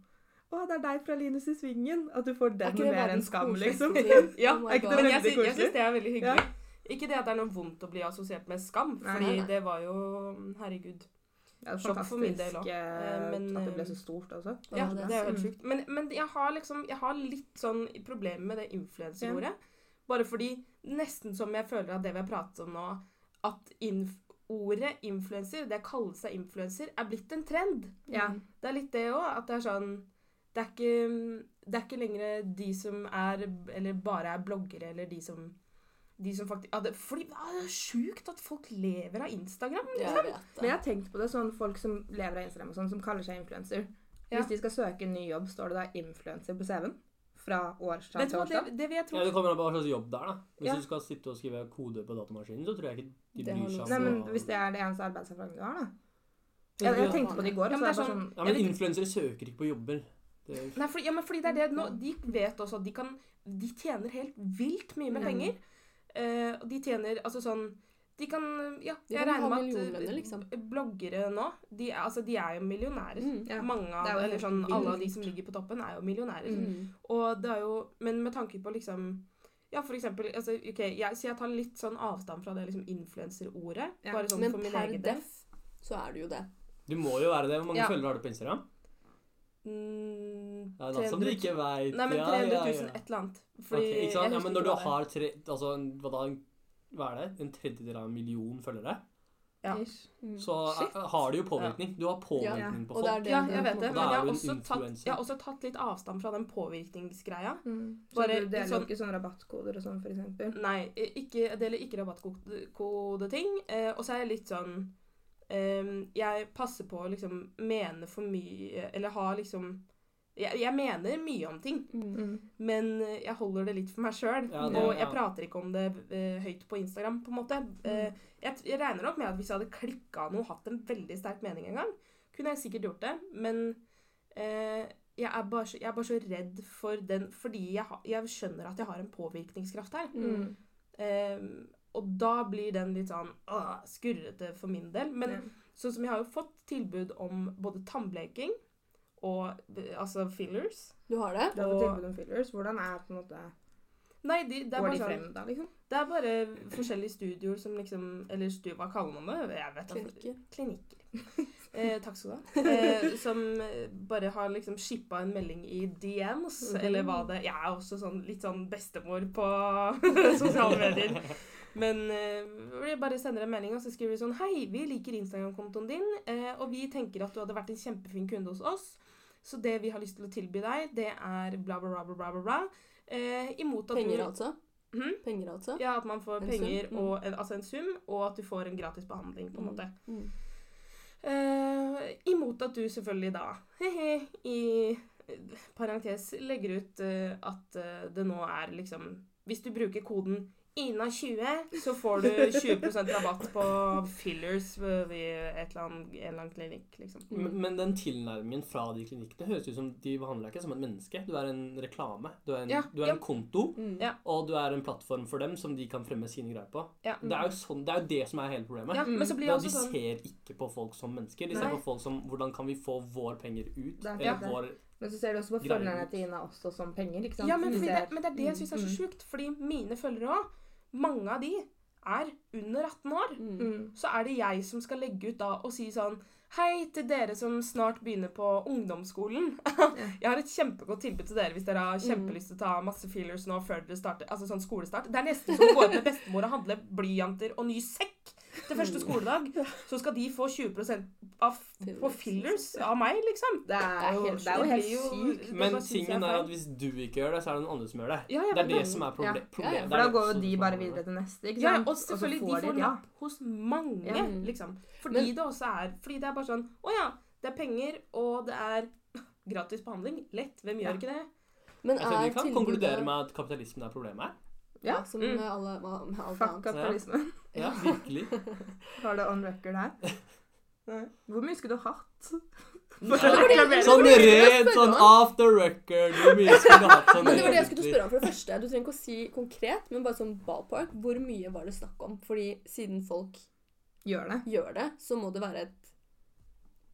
Å, det er deg fra Linus i Svingen! At du får den mer enn skam, liksom. Ja, ja, oh my er ikke det God. men jeg, veldig sy- jeg koselig? syns det er veldig hyggelig. Ikke det at det er noe vondt å bli assosiert med skam, Nei, fordi nei, nei. det var jo Herregud. Ja, det er Sjokk for min del fantastisk, også. eh, Eh, men, at det ble eh, så stort også. Ja, Ja, det det er er jo helt sant. sjukt. Men, men jeg har liksom Jeg har litt sånn problemer med det influenserordet. Bare fordi nesten som jeg føler at det vi har pratet om nå, at inf ordet influenser, det å kalle seg influenser, er blitt en trend. Ja. Det er litt det òg, at det er sånn det er, ikke, det er ikke lenger de som er Eller bare er bloggere, eller de som de som faktisk, ja, det, fordi ja, Det er sjukt at folk lever av Instagram. Jeg vet Men jeg det. har tenkt på det sånn folk som lever av Instagram og sånn, som kaller seg influenser. Ja. Hvis de skal søke en ny jobb, står det da 'influenser' på CV-en? Fra årstall Vet du til hva, det, årstall? det vil jeg tro Ja, det kommer an på hva slags jobb det er. da. Hvis Ja. du skal sitte og skrive kode på datamaskinen, så tror jeg ikke de Det har bryr noe seg. å om si. Nei, men hva- Hvis det er det eneste arbeidserfaringen du har, da. Ja, Jeg, jeg tenkte på det i går. Ja, og så er men det det bare sånn, er men influensere søker ikke på jobber. Det, Nei, fordi, ja, men fordi det er det nå De vet også at de kan De tjener helt vilt mye med Mm. penger. Eh, Og de tjener altså sånn De kan Ja, De jeg kan ha regner med at millionlønner, eh, liksom. bloggere nå de er, altså, de er jo millionærer. Mm, ja. Mange av Det er jo eller helt sånn, alle av de vilt. som ligger på toppen, er jo millionærer. Mm. Og det er jo Men med tanke på liksom ja, for eksempel, altså, ok, jeg, så jeg tar litt sånn avstand fra det liksom influenserordet. Ja, Bare sånn Men for min per egen del. def så er det jo det. du må jo være det. Hvor mange Ja. følgere har du på Instagram? Mm, Ja, det er som du 300 ikke vet. Nei, men Ja, 300 000, ja, ja. et eller annet. Ok, Fordi ikke sant? jeg Ja, husker men når du ikke hva det er. har tre, altså, en, hva, da, en- hva er det? en tredjedel av en million følgere, Ja. ish. så Shit. eh, har du jo påvirkning. Du har påvirkning Ja. på Og det folk. er det Ja, du jeg vet på det. en Men Da jeg er har, du en også tatt, influencer. jeg har også tatt litt avstand fra den påvirkningsgreia. Mm. Så Bare du deler jo sånn- ikke sånne rabattkoder og sånn, for eksempel. Nei, ikke, jeg deler ikke rabattkodeting. Eh, og så er jeg litt sånn eh, Jeg passer på å liksom mene for mye Eller ha liksom jeg, jeg mener mye om ting, måte. Mm. Mm. men eh, jeg holder det litt for meg sjøl. Ja, det- og jeg ja. prater ikke om det eh, høyt på Instagram, på en måte. Eh, jeg, jeg regner nok med at hvis jeg hadde klikka noe, hatt en veldig sterk mening en gang, kunne jeg sikkert gjort det, men eh, jeg er, bare, så- jeg er bare så redd for den Fordi jeg, har- jeg skjønner at jeg har en påvirkningskraft her. Mm. Mm. Ehm, og da blir den litt sånn «Åh, skurrete for min del. Men Ja. sånn som jeg har jo fått tilbud om både tannbleking og eh, altså fillers. Du har det? Du har fått Og- tilbud om fillers. Hvordan er på en måte Nei, de, det, Går er bare de sånn, frem da, liksom? det er bare forskjellige studioer som liksom Eller stu, hva kaller man det? Jeg vet da. Klinikker. Klinikker. [laughs] Eh, takk skal du ha. Eh, som eh, bare har liksom shippa en melding i DMs, Mhm. eller hva det Jeg er også sånn, litt sånn bestemor på [laughs] sosiale medier. Men eh, hvor jeg bare sender en melding og så skriver de sånn Hei, vi liker Instagram-kontoen din, eh, og vi tenker at du hadde vært en kjempefin kunde hos oss. Så det vi har lyst til å tilby deg, det er bla, bla, bla, bla, bla, bla. bla. Eh, imot at Penger, du altså? Mhm. Penger, altså? Ja, at man får En sum? penger, Mm. og, en, altså en sum, og at du får en gratis behandling, på en Mm. måte. Mm. Eh, imot at du selvfølgelig da, he-he, i eh, parentes, legger ut eh, at eh, det nå er liksom Hvis du bruker koden INA20, så får [laughs] du 20 rabatt på fillers ved ved et eller annet, en eller annen klinikk, liksom. Men, men den tilnærmingen fra de klinikkene høres ut som de behandler deg ikke som et menneske. Du er en reklame. Du er en, Ja, du er ja. en konto, Mm. Ja. og du er en plattform for dem som de kan fremme sine greier på. Ja. Det er jo, sånn, det, er jo det som er hele problemet. Mm. ja, men så Det blir er det at de også sånn ser ikke på folk som mennesker. De ser Nei. på folk som hvordan kan vi få vår penger ut? Det er Eller akkurat det. vår Men så ser du også på Greier følgerne ut. til Ina også som penger, ikke sant? Ja, men, Du fordi det, ser- men det er det jeg syns er så Mm. sjukt. Fordi mine følgere òg, mange av de er under 18 år. Mm. mm. Så er det jeg som skal legge ut da og si sånn Hei til dere som snart begynner på ungdomsskolen. [laughs] jeg har et kjempegodt tilbud til dere hvis dere har Mm. kjempelyst til å ta masse fillers nå før dere starter. Altså sånn skolestart. Det er nesten som å gå ut med bestemor og handle blyanter og ny sekk til Mm. første skoledag. Så skal de få 20 av, på fillers av meg, liksom. Det er jo helt det er jo Det helt blir jo- sykt. det Men bare synes jeg tingen er feil. at hvis du ikke gjør det, så er det noen andre som gjør det. Ja, jeg det er vet det det. som er Ja. proble Ja, ja, problemet. for Det For er da det går jo som de er bare problemet. videre til neste, ikke Ja, sant? og selvfølgelig, de får napp hos mange, Ja. liksom. Fordi Men- det også er Fordi det er bare sånn Å ja, det er penger, og det er [laughs] gratis behandling. Lett. Hvem gjør Ja. ikke det? Men Jeg tror er Altså, vi kan tilbudet- konkludere med at kapitalismen er problemet. Ja. Ja, som Mm. med alle, hva- med alt Fuck annet. kapitalismen. [laughs] Ja, virkelig. Har det on record her? Hvor mye skulle du [laughs] hatt? Sånn det var det jeg rent skulle sånn spørre om. off the record. Hvor mye skulle du hatt sånn [laughs] Men det var det jeg skulle egentlig? spørre om for det første. Du trenger ikke å si konkret, men bare sånn ballpark. Hvor mye var det snakk om? Fordi siden folk Gjør det. gjør det, så må det være et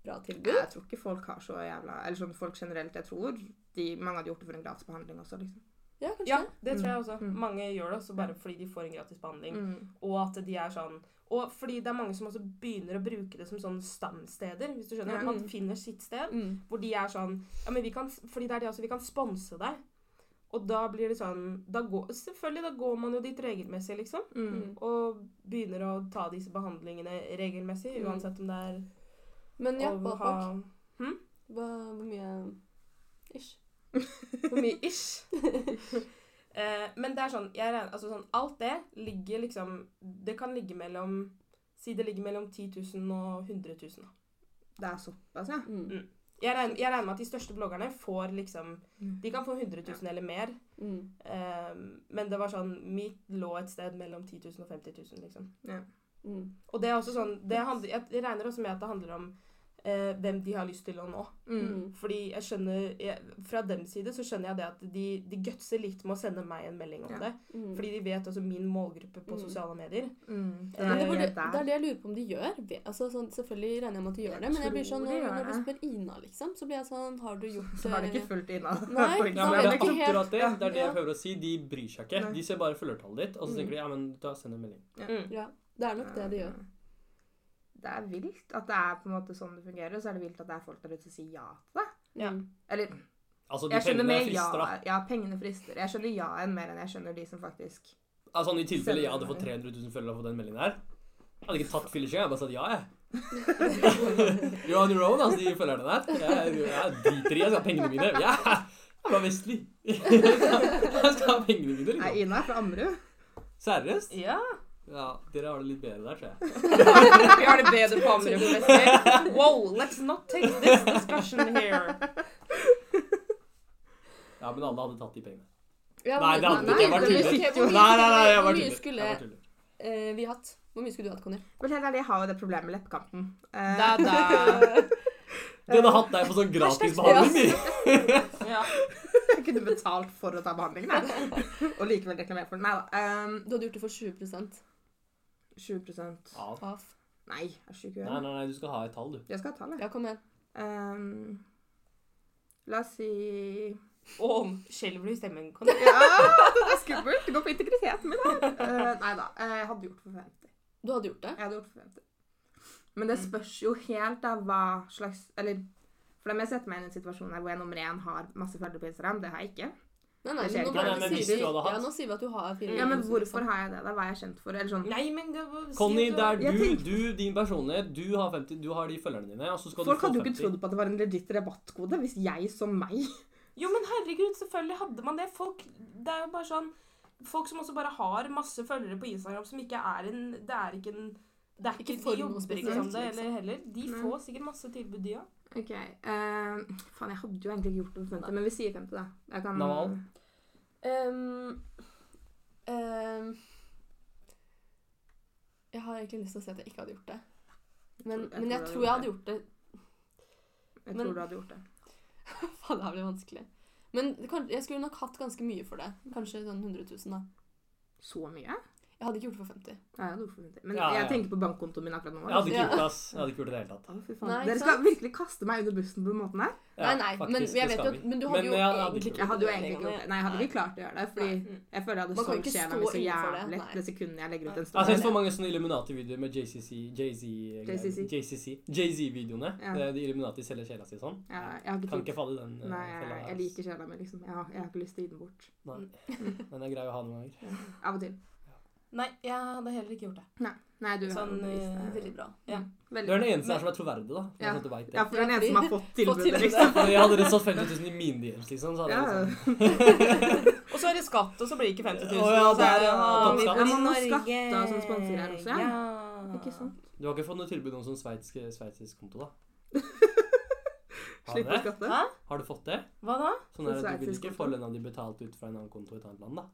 bra tilbud. Jeg tror ikke folk har så jævla Eller sånn folk generelt, jeg tror de, mange hadde gjort det for en gratis behandling også, liksom. Ja, kanskje Ja, det. det tror jeg også. Mm. Mange gjør det også bare fordi de får en gratis behandling. Mm. Og at de er sånn Og fordi det er mange som også begynner å bruke det som sånn stamsteder, hvis du skjønner. Ja. At man finner sitt sted. Mm. Hvor de er sånn Ja, men vi kan Fordi det er det også, vi kan sponse deg. Og da blir det sånn da går, Selvfølgelig, da går man jo dit regelmessig, liksom. Mm. Og begynner å ta disse behandlingene regelmessig, Mm. uansett om det er Men ja, å ballpark. ha Hva, hvor mye Ish. For mye ish. [laughs] Eh, men det er sånn, jeg regner, altså sånn Alt det ligger liksom Det kan ligge mellom Si det ligger mellom 10 000 og 100 000. da. Det er såpass, ja. Mm. Jeg regner, jeg regner med at de største bloggerne får liksom Mm. De kan få 100 000 eller mer. Mm. eh, men det var sånn Mitt lå et sted mellom 10 000 og 50 000, liksom. Mm. Og det er også sånn det handler, Jeg regner også med at det handler om eh, hvem de har lyst til å nå. Mm. Mm. Fordi jeg skjønner jeg, Fra deres side så skjønner jeg det at de, de gutser litt med å sende meg en melding om Ja. det. Mm. Fordi de vet altså min målgruppe på Mm. sosiale medier. Mm. Det er Men det, jo burde, der. det er det jeg lurer på om de gjør. Ve- Altså, sånn, selvfølgelig regner jeg med at de gjør det, men jeg blir tror sånn, de når, gjør når du det. spør Ina, liksom, så blir jeg sånn Har du gjort Så har det eh, ikke fulgt inn av [laughs] på Nei, da Ja, Instagram. men vet jeg det er ikke helt. akkurat det. Det er det Ja. jeg prøver å si. De bryr seg ikke. Nei. De ser bare følgertallet ditt, og så Mm. tenker de ja, men da sender jeg en melding. Mm. Ja, det er nok det de gjør. Det er vilt at det er på en måte sånn det fungerer, og så er det vilt at det er folk der ute som sier ja til det. Ja. Mm. Eller Altså, de jeg skjønner pengene mer er ja, frister, da. ja, pengene frister. Jeg skjønner ja-en mer enn jeg skjønner de som faktisk Altså, sånn, I tilfelle jeg Sender hadde fått 300 000 følgere på den meldingen her, jeg hadde ikke tatt filleskje, jeg hadde bare sagt ja, jeg. [laughs] You're on your own, altså, de følgerne der. Jeg, jeg driter i, jeg skal ha pengene mine. Ja, [laughs] jeg er bare vestlig. Jeg skal ha pengene mine, Nei, liksom. Ina er fra Ammerud. Seriøst? Ja. Ja, dere har det litt bedre der, tror jeg. [laughs] Vi har det bedre på [laughs] andre fester. Wow, let's not take this discussion here. Ja, men alle hadde tatt de pengene. Ja, Nei, men- det hadde nei, ikke. Jeg bare det men- tuller. ok, tuller. hvor mye Nei, nei, nei, skulle- jeg hvor bare mye tuller. skulle Jeg bare tuller. eh, vi hatt? Hvor mye skulle du hatt, Conny? Vel, helt ærlig, jeg har jo det problemet med leppekanten. Eh, Da, da. Du hadde hatt deg på sånn gratis behandling, vi. Ja. [laughs] jeg kunne betalt for å ta behandlingen, jeg. [laughs] Og likevel reklamert for den. Nei da. Um, Du hadde gjort det for 20 7 Ja. av Nei, jeg er sjuk i Nei, huet. nei, nei, du skal ha et tall, du. Jeg skal ha tallet. Ja, kom igjen. Um, la oss si Og om skjelver du i stemmen? Kan du? Ja, [laughs] det er skummelt! Det går på integriteten min [laughs] her. Eh, nei da. eh, Jeg hadde gjort for 50. Du hadde gjort det? Jeg hadde gjort for 50. Men det spørs jo helt da hva slags Eller for om jeg setter meg inn i en situasjon her hvor jeg nummer én har masse følgere på Instagram, det har jeg ikke. Nei, nei, Det skjer nå, ikke. bare Nei, nei, men sier hvis vi, du hadde hatt- ja, nå sier vi at du har fire liksom. Ja, Men hvorfor har jeg det? da? Hva er jeg kjent for? Eller sånn Nei, men det var Conny, det er Jeg du, tenkte- du, din personlighet, du har, 50, du har de følgerne dine, og så skal Folk du få hadde jo 50. ikke trodd på at det var en legit rabattkode hvis jeg som meg Jo, men herregud, selvfølgelig hadde man det. Folk, det er jo bare sånn Folk som også bare har masse følgere på Instagram, som ikke er en Det er ikke en det er Ikke ikke, for De noe jobber ikke spesielt, som det liksom. eller heller. De Nei. får sikkert masse tilbud, de òg. Ok. eh, faen, jeg hadde jo egentlig ikke gjort det for 50, men vi sier 50, da. Jeg kan Naval? Ehm, ehm, Jeg har egentlig lyst til å si at jeg ikke hadde gjort det. Men tror- jeg jeg, men jeg tror tror jeg hadde gjort det. [laughs] Jeg Men- tror du hadde gjort det. Faen, det her blir vanskelig. Men det kan, jeg skulle nok hatt ganske mye for det. Kanskje sånn 100 000, da. Så mye? Jeg hadde ikke gjort det for 50. Nei, jeg hadde gjort det for 50. Men Ja, ja. jeg tenker på bankkontoen min akkurat nå. Jeg hadde ikke Ja. gjort det, ass. Jeg hadde ikke gjort det i det hele tatt. Å, fy faen. Nei, ikke Dere skal sant? virkelig kaste meg under bussen på den måten her? Ja, nei, nei, faktisk, men, det jeg vet skal jo, at- vi. men du hadde Men jo jeg hadde egentlig ikke ikke Jeg hadde jo egentlig det ikke gjort engang. det. Nei, jeg hadde Nei. ikke klart å gjøre det. Fordi Nei. jeg føler jeg Man hadde kan jo solgt ikke sjela stå mi så innenfor det. jævlig Nei. det sekundet jeg legger ut en Altså, Jeg har sett story. for mange sånne Illuminati-videoer med JCC JCC. JCC-videoene. Ja. Eh, De Illuminati selger sjela si sånn. Ja, jeg har ikke Kan tid. ikke falle i den. eh, Nei, jeg, fella her, jeg ass. liker sjela mi, liksom. Jeg har, jeg har ikke lyst til å gi den bort. Nei. Men det er grei å ha noen ganger. Av og til. Nei, jeg hadde heller ikke gjort det. Nei, nei du har Sånn, jo eh, bevisst Veldig bra. Ja. det. Du er Veldig. den eneste her som er troverdig, da. Ja. Sånn at du vet Ja, det. for du er den eneste som har fått tilbudet, tilbudet. liksom. Fordi hadde dere satt 50 000 i mine DMs, liksom, så hadde Ja. jeg liksom Og så er det skatt, og så blir det ikke 50 000. Å ja, og så er det er toppskatt». «Å, vi bor i Ja, man må Norge. skatte og sånn sponsorer her også, ja. Ja. Ikke sant? Du har ikke fått noe tilbud om sånn sveitsisk sveitsisk konto, da? Har du Slipp å det? skatte. Hæ? Har du fått det? Hva da? Sånn der, Sånn du vil sveitsisk ikke konto. få lønna di betalt ut fra en annen konto i et annet land, da?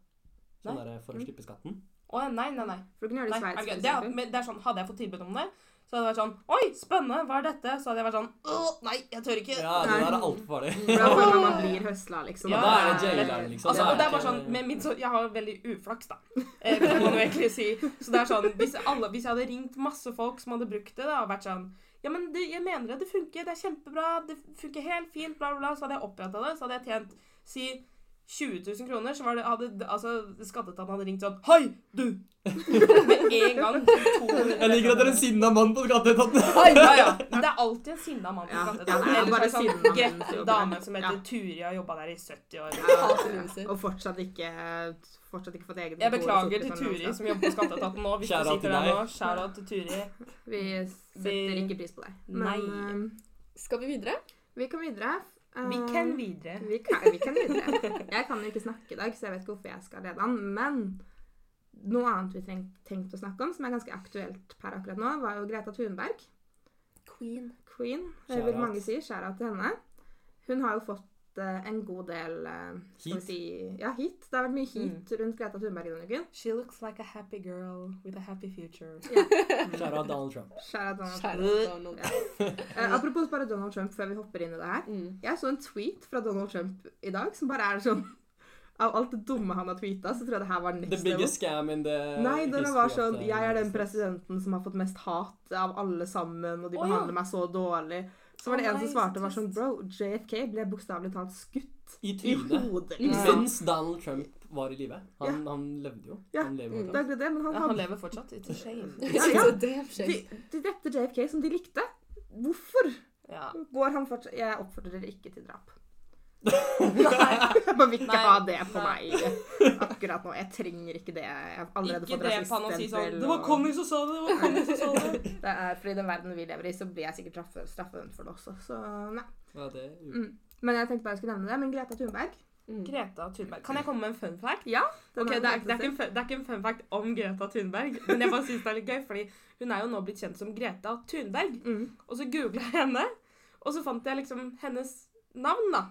Sånn Nei. der, for å slippe skatten? Å ja, nei, nei, nei. For du kunne nei gjøre det i Sveits, ok, for det, er, eksempel. men det er sånn, Hadde jeg fått tilbud om det, så hadde det vært sånn Oi, spennende, hva er dette? Så hadde jeg vært sånn Åh, nei, jeg tør ikke. Ja, det Nei. der er altfor farlig. For da føler man man blir høsla, liksom. Ja, Og det da er det jaileren, liksom. Altså, det er og det er bare ikke- sånn, med min, så, Jeg har veldig uflaks, da. Eh, kan man jo egentlig si. Så det er sånn, hvis, alle, hvis jeg hadde ringt masse folk som hadde brukt det, da, og vært sånn Ja, men det, jeg mener det, det funker, det er kjempebra, det funker helt fint, bla, bla, bla. Så hadde jeg oppretta det, så hadde jeg tjent si 20 000 kroner, så var det, hadde altså, skatteetaten hadde ringt sånn Hei, du! Med en gang. du, 200 Jeg liker at dere er en sinna mann på skatteetaten. Hei, ja, ja. Det er alltid en sinna mann på Ja, skatteetaten. ja, det er Eller bare så er det sinna sånn menn som gett jobber der. en dame som heter Ja. Turi og har jobba der i 70 år. Hater loser. Og fortsatt ikke Fortsatt ikke fått eget Jeg kontor og beklager til sittet Turi sånn som jobber på skatteetaten nå. Hvis Shout du out til sitter der deg. nå, shout out til Turi. noe. Vi setter Vi- ikke pris på deg. Nei. Men eh, Skal vi videre? vi kan videre. Eh, Vi kan videre. Vi kan, vi kan videre. Jeg kan jo ikke snakke i dag, så jeg vet ikke hvorfor jeg skal lede an. Men noe annet vi treng, tenkte å snakke om, som er ganske aktuelt per akkurat nå, var jo Greta Thunberg. Queen. Queen, eh, Shout vil out. mange si. Skjæra til henne. Hun har jo fått eh, en god del eh, skal vi Heat. si, ja, hit. Det har vært mye Mm. hit rundt Greta Thunberg denne uken. She looks like a happy girl with a happy future. Kjære Donald Trump. Skjæra til Donald Trump. Kjære Donald. Eh, apropos bare Donald Trump, før vi hopper inn i det her. [laughs] Mm. Jeg så en tweet fra Donald Trump i dag som bare er sånn [laughs] Av alt det dumme han har tweeta, så tror jeg det her var The next level. biggest scam in the Nei, når han var history eh, of sånn the- Jeg er den presidenten som har fått mest hat av alle sammen, og de Å, ja. behandler meg så dårlig. Så var det Å, en som nei, svarte så var sånn Bro, JFK ble bokstavelig talt skutt i I trynet. hodet, liksom. Mens Donald Trump var i live. Han, han levde jo. Ja. Mm, Han lever Det er akkurat det, men han Ja, han hadde lever fortsatt. It's a shame. Ja, ja. [laughs] Så det er De, skjevt. de drepte JFK som de likte. Hvorfor Ja. går han fortsatt Jeg oppfordrer ikke til [laughs] drap. Nei, Jeg bare vil ikke Nei, ha det på nei. meg akkurat nå. Jeg trenger ikke det. Jeg har allerede ikke fått drep han og si sånn rasiststempel. Det var og- Conny som sa det! Det var Conny som sa [laughs] det! Det er fordi den verden vi lever i, så blir jeg sikkert straffe- straffedømt for det også. Så nei. Ja, det er jo- Mm. Men jeg tenkte bare jeg skulle nevne det. Men Greta Thunberg Mm. Greta Thunberg. Kan jeg komme med en fun fact? den Ok, er det, er, den det, er ikke eneste- en, fun- det er ikke en fun fact om Greta Thunberg, men jeg bare synes det er litt gøy, fordi hun er jo nå blitt kjent som Greta Thunberg. mm. Og så googla jeg henne, og så fant jeg liksom hennes navn, da.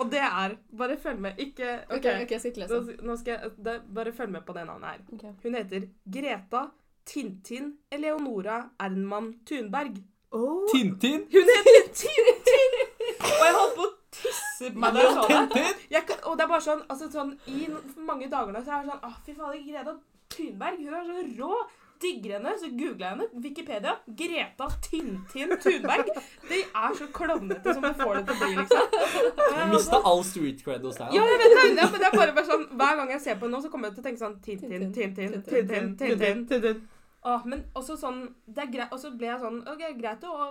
Og det er Bare følg med. Ikke Ok, OK, ok, jeg skal ikke Nå, lese. nå skal jeg det, Bare følg med på det navnet her. Ok. Hun heter Greta Tintin Eleonora Ernman Thunberg. Åh, Tintin! Hun heter Tintin! Og jeg holdt på å tisse på meg da jeg sa det. Tintin! Jeg kan, og det er bare sånn, altså sånn I no- mange dager nå så er det sånn Å, fy fader, Greta Thunberg. Hun er så rå. Digger henne. Så googla jeg henne. Wikipedia. Greta Tintin Thunberg. De er så klovnete som du får det til å bli, liksom. Og jeg Jeg var mista sånn- all street cred hos deg. Ja, da. jeg vet det, ja, men det er bare, bare sånn, Hver gang jeg ser på henne nå, så kommer jeg til å tenke sånn Tintin, Tintin, Tintin, Tintin. Åh, men også sånn, det er grei, og så ble jeg sånn ok, Greit å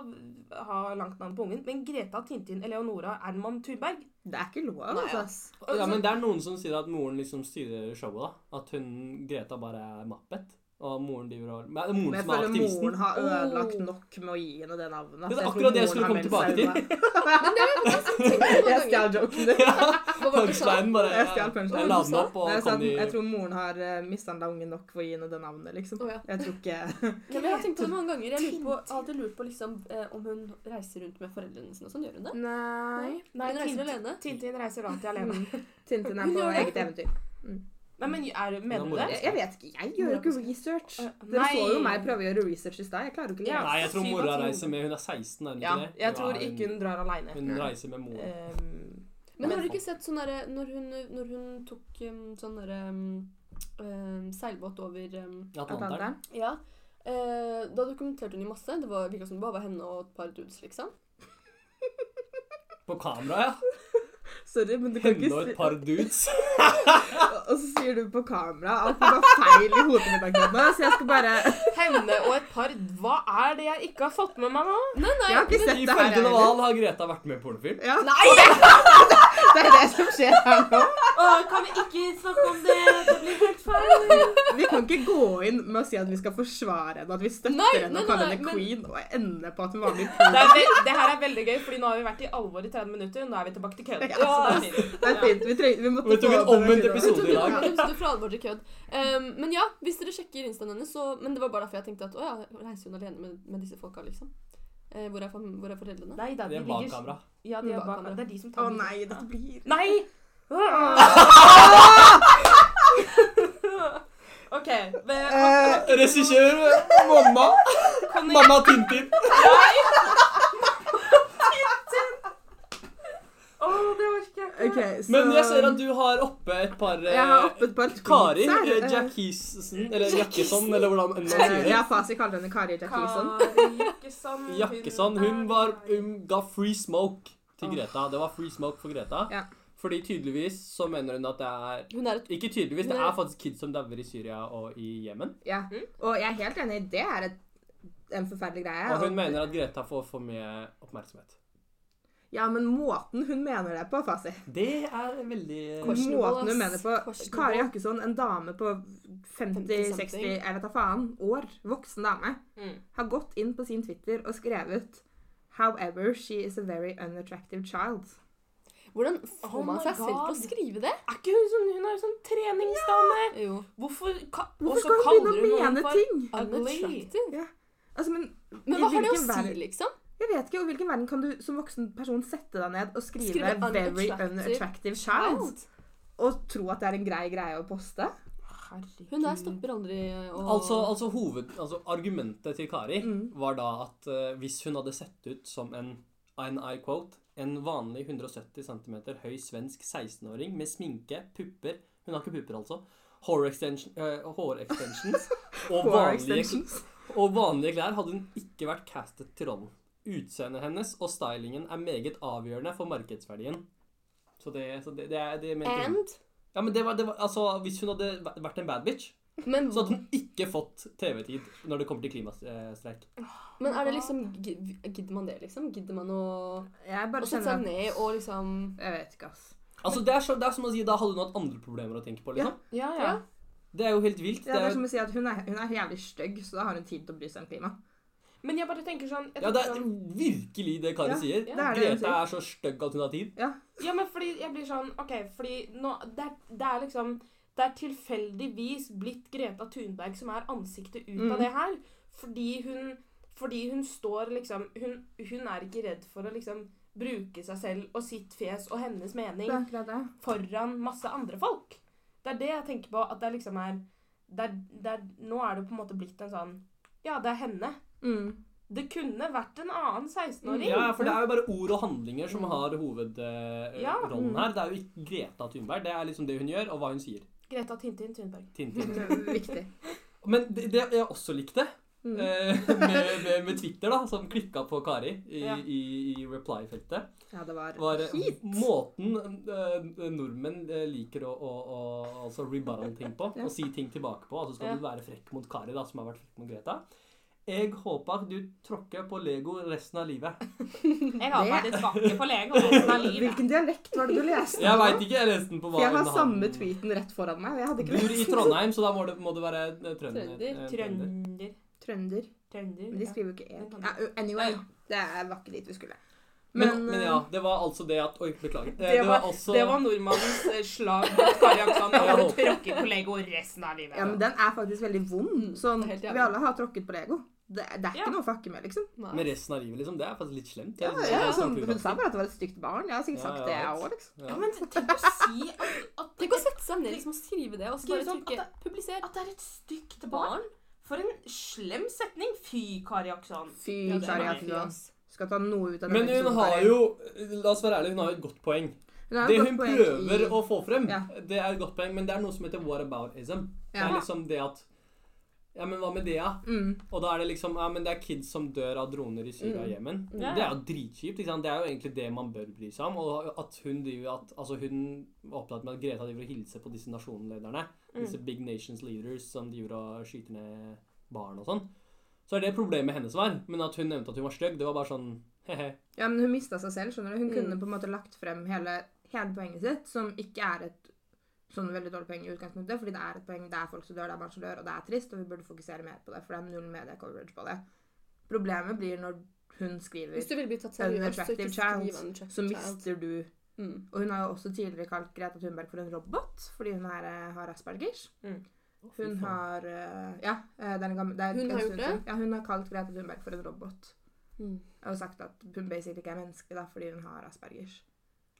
ha langt navn på ungen, men Greta Tintin Eleonora Ernman Thunberg? Det er ikke lov, Nei, altså. ass. Ja, men det er noen som sier at moren liksom styrer showet. da At hun Greta bare er mappet. Og moren driver og Men det er Men moren jeg som er føler moren aktivisten. har ødelagt Oh. nok med å gi henne det navnet. Det så er tror akkurat det jeg moren skulle har komme meldt seg tilbake Men det har jeg faktisk unna. [laughs] tenkt på Jeg noen ganger. stjal joken din. [laughs] Hva var det du sa? Punchlinen bare Jeg stjal punchlinen. Jeg la den opp, og Nei, Jeg, sa kom at, de jeg tror moren har uh, mishandla ungen nok for å gi henne det navnet, liksom. Å, ja. Jeg tror ikke Ja, men jeg har tenkt på det mange ganger. Jeg, lurer på, jeg har alltid lurt på liksom, eh, om hun reiser rundt med foreldrene sine og sånn. Gjør hun det? Nei. hun reiser alene. Tintin reiser alltid alene. Tintin er Hun på gjør det. eget eventyr. Nei, men er, mener du Jeg, det? jeg vet ikke. Jeg gjør jo ikke research. Eh, Dere nei. så jo meg prøve å gjøre research i stad. Jeg klarer jo ikke å Ja. lese. Nei, jeg tror Syv av mora ti. reiser med. Hun er 16, er hun Ja, ikke det? jeg Ja, tror ikke hun drar alene. Hun reiser med moren. Ehm, Men Men- har du ikke sett sånn derre når, hun- når hun tok um, sånn derre um, um, seilbåt over um, I Atlanteren. Atlanteren. Ja. eh, da dokumenterte hun jo masse. Det var virka som det bare var henne og et par dudes, liksom. På kamera, ja. Sorry, men du kan Henne [laughs] ikke og si et par [laughs] dudes. Og så sier du på kamera at det var feil i hodet mitt akkurat nå, så jeg skal bare Jeg Henne og et par Hva er det jeg ikke har fått med meg nå? Nei, nei! har ikke sett det men- her. Ifølge heller. Naval har Greta vært med i pornofilm. Ja, Nei! det er det som skjer her nå. Å, kan vi ikke snakke om det? Det blir helt feil. Vi kan ikke gå inn med å si at vi skal forsvare henne, at vi støtter Nei, henne nei, og kaller nei, henne men- queen, og ende på at hun var med i Det, porno. er ve det her er veldig gøy, Fordi nå har vi vært i alvor i 30 minutter. Nå er vi tilbake til køen. Ja. Så det er fint. Det er fint. Vi, trengte, vi måtte Vi tok en opp den omvendt siden. episode i dag. Jeg synes det er fra alvor til kødd. Um, men ja, hvis dere sjekker instaen hennes, så Men det var bare derfor jeg tenkte at å ja, reiser hun alene med, med disse folka, liksom? Eh, hvor, er, fam- hvor er foreldrene? Nei, da, Det de er bak ligger kamera. Ja, de er bak Bak kamera. kamera. Det er de som Å tar nei, bilder. dette blir Nei! [laughs] OK. men- Eh, Regissør mamma. Conny, Mamma Tintin. Å, det orker jeg OK, ikke. så Men jeg ser at du har oppe et par eh, Jeg har oppe et par tweets Kari her. eh, Eh, Jackison, eller Jackesson, eller hvordan enn man eh, sier det. Ja, Fasi kaller henne Kari Jackison. Kari Jakkesson. hun Jakkesson, hun er var, um- Kari. hun ga free smoke til Greta. Det var free smoke for Greta. Ja. Fordi tydeligvis så mener hun at det er Hun er et Ikke tydeligvis, det Nei. er faktisk kids som dauer i Syria og i Jemen. Ja. Mm. Og jeg er helt enig, i det er et, en forferdelig greie. Og hun og- mener at Greta får for mye oppmerksomhet. Ja, men måten hun mener det på, Fasi. Det er veldig Questionable, Måten hun ass. mener på Questionable. Kari Jakkesson, en dame på 50-60 something. jeg vet da faen, år, voksen dame, Mm. har gått inn på sin Twitter og skrevet However, she is a very unattractive child. Hvordan får Oh man my seg selv til å God. skrive det? Er ikke hun sånn Hun er jo sånn treningsdame! Jo. Hvorfor, ka, og Hvorfor så skal hun kaller begynne å noen mene for- ting? Ugly. Unattractive. Altså, men, Men i hva har det å hvilken si, verden- liksom? Jeg vet ikke, og hvilken verden kan du som voksen person sette deg ned og skrive, Skrive 'very unattractive unattractive child' og tro at det er en grei greie å poste? Herregud. Hun der stopper aldri å Altså, altså, hoved, altså argumentet til Kari Mm. var da at eh, hvis hun hadde sett ut som en en I quote, en vanlig 170 cm høy svensk 16-åring med sminke, pupper Hun har ikke pupper, altså. Hår extension, eh, hår extensions og Core vanlige, extensions. og vanlige klær hadde hun ikke vært castet til rollen. Utseendet hennes og stylingen er meget avgjørende for markedsverdien. Så det, så det, det, er- det mente hun. And? Ja, men det var, det var, altså, hvis hun hadde væ- vært en bad bitch, Men, så hadde hun ikke fått TV-tid når det kommer til klimastreik. men er det liksom gi- Gidder man det, liksom? Gidder man å, Jeg å bare sette seg kjenner at ned og liksom Jeg vet ikke, ass. Altså, det er, så, det er som å si, da hadde hun hatt andre problemer å tenke på, liksom. Ja, ja. Ja. Det er jo helt vilt. Ja, det er jo- som å si at hun er, hun er jævlig stygg, så da har hun tid til å bry seg om klima. Men jeg bare tenker sånn, jeg ja, det tenker er sånn virkelig det Kari Ja, sier. det er det hun Greta er så stygg at hun har tid. Ja, men fordi jeg blir sånn OK, fordi nå Det er, det er liksom Det er tilfeldigvis blitt Greta Thunberg som er ansiktet ut Mm. av det her. Fordi hun Fordi hun står liksom Hun, hun er ikke redd for å liksom bruke seg selv og sitt fjes og hennes mening Det er akkurat det. foran masse andre folk. Det er det jeg tenker på. At det liksom er det er, det er, Nå er det på en måte blitt en sånn Ja, det er henne. Mm. Det kunne vært en annen 16-åring. Mm, Ja, for det er jo bare ord og handlinger som har Ja. hovedrollen her. Det er jo ikke Greta Thunberg. Det er liksom det hun gjør, og hva hun sier. Greta Tintin Thunberg. Tintin. Viktig. Men det, det jeg også likte Mm. eh, [laughs] med, med, med Twitter, da, som klikka på Kari i, Ja. i, i reply-feltet, Ja, det var, var hit. måten eh, nordmenn eh, liker å, å, å altså rebuttal ting på. [laughs] Ja. Og si ting tilbake på. Altså skal Ja. du være frekk mot Kari, da, som har vært frekk mot Greta. Jeg håper du tråkker på Lego resten av livet. Jeg har vært litt svake på lege [laughs] resten av Hvilken dialekt var det du leste? Jeg nå? veit ikke, jeg leste [laughs] den på For jeg har hun samme hadde. tweeten rett foran meg, og jeg hadde ikke Bor i lest den. Trondheim, så da må det, må det være eh, trønder. Trønder. eh, trønder. Trønder. Trønder. Men Trønder. de Ja. skriver jo ikke E. Ja, anyway, det var ikke dit vi skulle. Men, Men, eh, men ja, det var altså det at Oi, beklager. Eh, Det var, også det var nordmannens eh, slag mot Kari Aksan. Ja, jeg Han håper. tråkker på Lego resten av livet. Ja, men den er faktisk veldig vond. Mm, Sånn, helt jævlig. vi alle har tråkket på Lego. Det, det er ikke Ja. noe å fucke med, liksom. Nei. Med resten av livet, liksom. Det er faktisk litt slemt. Ja, Det er- ja, det er sånn, naturlig. hun sa bare at det var et stygt barn. Jeg har sikkert Ja, sagt ja, det, jeg alt. òg, liksom. Ja. men tenk å si at, at, Tenk å sette seg ned liksom, og skrive det, og så Skrive bare sånn trykke at 'publiser'. at det er et stygt barn. Barn? For en slem setning. Fy, Kari Aksan. Fy, Ja, det er Kari meg, Jakkesson. ass. Skal ta noe ut av Men denne hun episoden, har Kari. jo La oss være ærlige, hun har jo et godt poeng. Hun har Det et godt hun poeng prøver i- å få frem, Ja. det er et godt poeng, men det er noe som heter whataboutism. Det Ja. er liksom det at Ja, men hva med det, da? Mm. Og da er det liksom Ja, men det er kids som dør av droner i Syria og Jemen. Ja. Det er jo dritkjipt. ikke sant? Det er jo egentlig det man bør bry seg om. Og at hun driver at, Altså, hun var opptatt med at Greta driver og hilser på disse nasjonlederne. Mm. Disse big nations leaders som driver og skyter ned barn og sånn. Så er det problemet hennes var. Men at hun nevnte at hun var stygg, det var bare sånn he-he. Ja, men hun mista seg selv, skjønner du. Hun Mm. kunne på en måte lagt frem hele, hele poenget sitt, som ikke er et sånn veldig dårlig poeng i utgangspunktet, fordi det er et poeng, det er folk som dør, det er barn som dør, og det er trist, og vi burde fokusere mer på det, for det er null media-coverage på det. Problemet blir når hun skriver Hvis du vil bli tatt An seriøst, så attractive ikke child, skriv 'unattractive så child'. mister du Mm. Og hun har jo også tidligere kalt Greta Thunberg for en robot, fordi hun er, eh, har aspergers. Fy Hun faen. har eh, Ja, eh, det er en gammel det er Hun en har stund gjort det? siden. Ja, hun har kalt Greta Thunberg for en robot. Mm. Og sagt at hun basically ikke er menneskelig da, fordi hun har aspergers.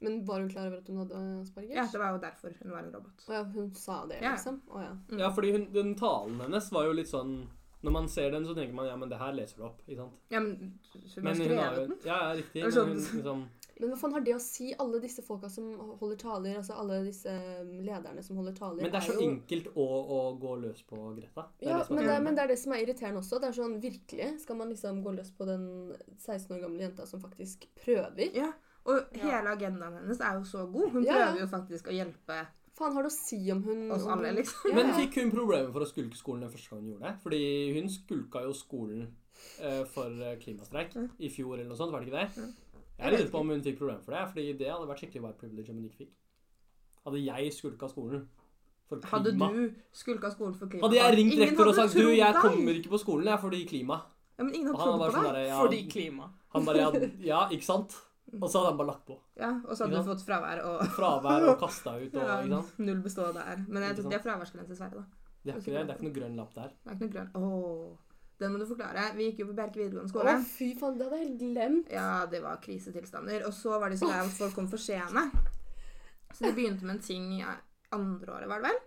Men var hun klar over at hun hadde aspergers? Ja, det var jo derfor hun var en robot. Å ja, hun sa det, Ja. liksom? Å ja. Mm. Ja, fordi hun, den talen hennes var jo litt sånn Når man ser den, så tenker man ja, men det her leser du opp. ikke sant? Ja, men hun har Men hun har jo skrevet den. Ja, ja, riktig. Det er Men hun, sånn- liksom, Men hva faen har det å si, alle disse folka som holder taler, altså alle disse um, lederne som holder taler, men det er så enkelt å, å gå løs på Greta. Det er liksom ja, det som er men det, er, problemet. men det er det som er irriterende også. Det er sånn, Virkelig skal man liksom gå løs på den 16 år gamle jenta som faktisk prøver? Ja. Og Ja. hele agendaen hennes er jo så god. Hun Ja, ja. prøver jo faktisk å hjelpe Faen, har det å si om hun oss om- alle, liksom. Ja, Men ja. fikk hun problemer for å skulke skolen den første gang hun gjorde det? Fordi hun skulka jo skolen eh, for eh, klimastreik Mm. i fjor eller noe sånt, var det ikke det? Mm. Jeg lurer på om hun fikk problemer for det, fordi det hadde vært skikkelig white privilege om hun ikke fikk. Hadde jeg skulka skolen for klima Hadde du skulka skolen for klima? Hadde jeg ringt Ingen rektor hadde og sagt du, trodd jeg deg!» kommer ikke på skolen jeg, fordi klima. ja, Men ingen Og hadde han trodd var på sånn deg. derre ja, Fordi klima. Han bare ja, ja, ikke sant? Og så hadde han bare lagt på. Ja, og så hadde Ikke du fått fravær og Fravær og kasta ut og [laughs] ja, ikke sant. null bestå der. Men jeg Ikke tror det er fraværsgrense i Sverige, da. Det er ikke det. Det er ikke noe grønn lapp der. Det er ikke noe grønn Åh, Den må du forklare. Vi gikk jo på Bjerke videregående skole. Å, fy faen, det hadde jeg helt glemt. Ja, det var krisetilstander. Og så var de så lei av at folk kom for sene. Så de begynte med en ting i andre året, var det vel?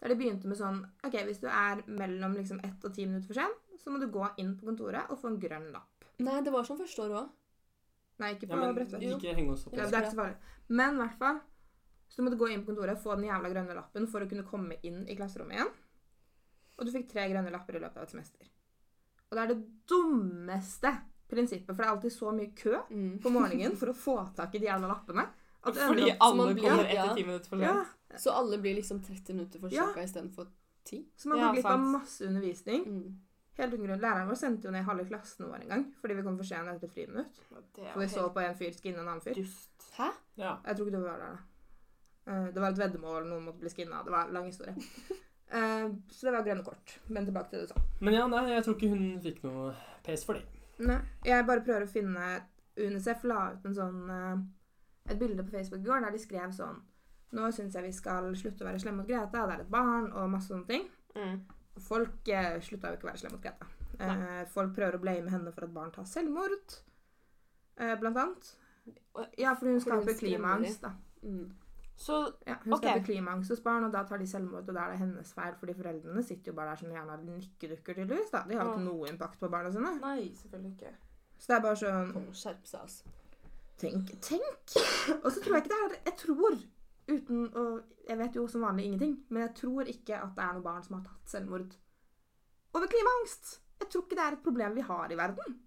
Der de begynte med sånn OK, hvis du er mellom liksom ett og ti minutter for sen, så må du gå inn på kontoret og få en grønn lapp. Nei, det var sånn første år òg. Nei, ikke Ja, på men Bredtvet. Jo. ikke heng altså. oss opp i Ja, det. det er ikke så farlig. Men i hvert fall så du måtte gå inn på kontoret og få den jævla grønne lappen for å kunne komme inn i klasserommet igjen. Og du fikk tre grønne lapper i løpet av et semester. Og det er det dummeste prinsippet, for det er alltid så mye kø Mm. på morgenen for å få tak i de jævla lappene. At du ender Fordi opp- Så man alle blir- kommer ja. etter ti minutter for ja, sent. Så alle blir liksom 30 minutter Ja. forsinka istedenfor 10. så man Ja, går glipp av sant. masse undervisning. Mm. Helt uten grunn. Læreren vår sendte jo ned halve klassen vår en gang fordi vi kom for sent etter et friminutt. Det For vi så på en fyr skinne en annen fyr. dust. Hæ? Ja. Jeg tror ikke du var der, da. Eh, Det var et veddemål, noen måtte bli skinna. Det var en lang [laughs] historie. Eh, Så det var grønne kort. Men tilbake til det du sa. Men ja, nei, jeg tror ikke hun fikk noe pes for det. Nei, jeg bare prøver å finne UNICEF la ut en sånn eh, et bilde på Facebook i går der de skrev sånn Nå syns jeg vi skal slutte å være slemme mot Greta. Det er et barn, og masse sånne ting. Mm. Folk eh, slutta jo ikke å være slemme mot Greta. Eh, folk prøver å blame henne for at barn tar selvmord, eh, blant annet. Ja, for hun For hun skaper skremmer de. klimaangst, da. Mm. Så Ja, hun Ok. skaper klimaangst hos barn, og da tar de selvmord, og da er det hennes feil, fordi foreldrene sitter jo bare der som gjerne har nikkedukker, tydeligvis. da. De har jo Mm. Ja. ikke noe impact på barna sine. Nei, selvfølgelig ikke. Så det er bare sånn Å, Skjerpe seg, altså. Tenk, tenk! Og så tror jeg ikke det er Jeg tror, uten å Jeg vet jo som vanlig ingenting, men jeg tror ikke at det er noen barn som har tatt selvmord over klimaangst. Jeg tror ikke det er et problem vi har i verden.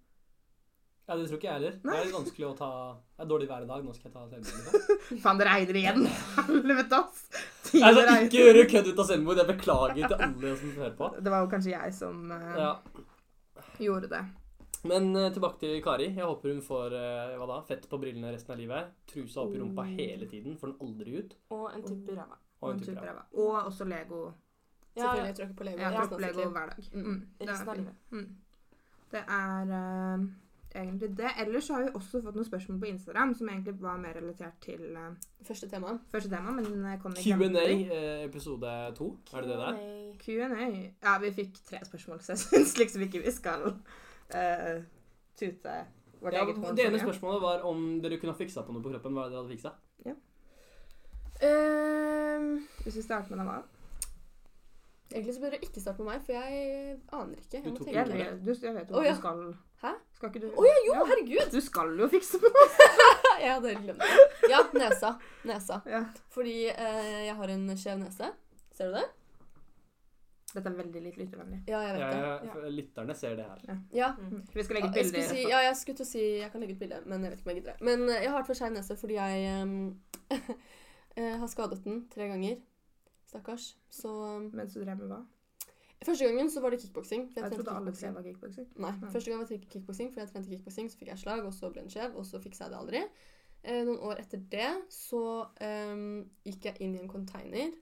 Ja, Det tror ikke jeg heller. Det Nei. er litt vanskelig å ta Det er dårlig vær i dag, nå skal jeg [laughs] ta selvmord. Faen, det regner igjen! [laughs] Helvete, ass! Nei, Tiden så regner. Altså, ikke gjøre kødd ut av selvmord. Jeg beklager til alle som hører på. Det var jo kanskje jeg som eh, Ja. gjorde det. Men eh, tilbake til Kari. Jeg håper hun får eh, hva da, fett på brillene resten av livet. Trusa opp i rumpa Mm. hele tiden, får den aldri ut. Og en tupp i ræva. Og en Noen type typer ræva. av- Og også Lego. Ja, Selvfølgelig ja. jeg tror ikke på Lego. Ja, resten av sitt kropp-lego liv. hver dag. Mm. Mm. Det Resten av er, livet. mm. det er eh, egentlig det. Ellers så har vi også fått noen spørsmål på Instagram som egentlig var mer relatert til eh, Første tema. første tema, men uh, kom ikke Q&A eh, episode to. Er det det der? Nei. Q&A. Ja, vi fikk tre spørsmål, så jeg [laughs] syns liksom ikke vi skal eh, tute vårt Ja, eget hånd. det ene så mye. spørsmålet var om dere kunne ha fiksa på noe på kroppen. Hva er det dere hadde fiksa? Ehm, Hvis vi starter med Naval. egentlig så bør dere ikke starte med meg, for jeg aner ikke. Du Jeg må tok tenke Jeg, det. meg vet- du, jeg vet jo Å, ja. du skal Hæ? Skal ikke du Å ja, jo, [laughs] herregud! Du skal jo fikse på Jeg hadde helt glemt det. Ja, nesa. Nesa. Ja. Fordi eh, jeg har en skjev nese. Ser du det? Dette er veldig litt lyttervennlig. Ja, jeg vet Jeg, det. jeg, lytterne ser det her. Ja. Mm. Vi skal legge Ja, ut jeg, skulle bilder. si, ja, jeg skulle til å si Jeg kan legge ut bilde, men jeg vet ikke om jeg gidder det. Men eh, jeg har i hvert fall skeiv nese fordi jeg ehm, [laughs] eh, har skadet den tre ganger. Stakkars. Så ehm, Mens du drev med hva? Første gangen så var det kickboksing. for Jeg trente trodde alle tre kickboksing. var kickboksing. Nei. Mm. Første gang var det kickboksing, for jeg trente kickboksing, så fikk jeg slag, og så ble den skjev, og så fiksa jeg det aldri. Eh, noen år etter det så ehm, gikk jeg inn i en container.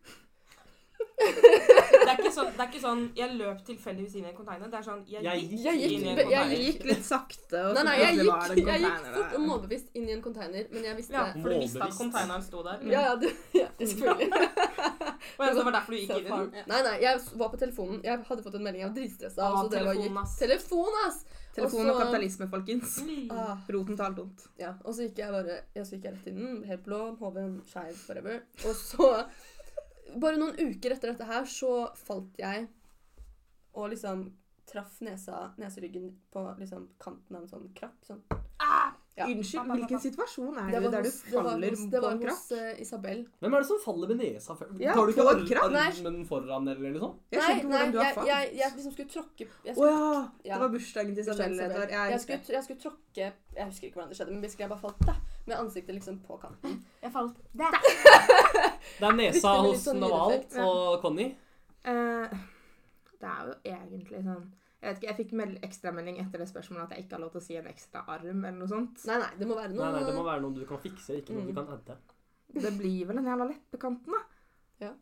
Det er, ikke sånn, det er ikke sånn jeg løp tilfeldigvis inn i en container. Det er sånn jeg, Jeg gikk, Jeg gikk, inn i en jeg container. Jeg gikk litt sakte, og Nei, nei, så jeg plutselig var det gikk, en jeg gikk container fort der. og målbevisst inn i en container, men jeg visste Ja, for du visste at Målbevisst. containeren sto der. Ja, ja, det, [laughs] ja selvfølgelig. Og jeg, så det var derfor du gikk inn i den. Nei, nei, jeg var på telefonen. Jeg hadde fått en melding, jeg var dritstressa. Ah, så det var- telefonen, gikk- ass. Telefon, ass! Telefon og så- kapitalisme, folkens. Ah, Roten til alt ondt. ja. Og så gikk jeg bare ja, så gikk jeg rett i den. Helt blå, hoven skeiv, forever. Og så, bare noen uker etter dette her, så falt jeg og liksom traff nesa, neseryggen på liksom kanten av en sånn krapp. Sånn. Ja. Unnskyld, hvilken situasjon er det, var der du hos- det var faller hos- det på var en krakk? hos eh, Isabel. Hvem er det som faller med nesa før? Ja, Tar du ikke på ar kraft. armen foran eller noe sånt? Jeg skjønte ikke hvordan du har jeg, falt. jeg, jeg liksom skulle tråkke Å jeg skulle, ja! ja. Det var bursdagen til Isabel. Bursdagen til det Isabel. var- Jeg Liksom, jeg, husker. skulle, jeg skulle tråkke Jeg husker ikke hvordan det skjedde, men basically jeg bare falt. Da. med ansiktet liksom på kanten. Jeg falt der. Det er Hvis det nesa blir litt hos sånn Naval lydeffekt, ja. og Conny. Eh, det er jo egentlig sånn Jeg vet ikke, jeg fikk meld- ekstramelding etter det spørsmålet at jeg ikke har lov til å si en ekstra arm eller noe sånt. Nei, nei, det må være noe Nei, nei, det må være noe du kan fikse, ikke noe du kan adde. Det blir vel en jævla leppekanten, da.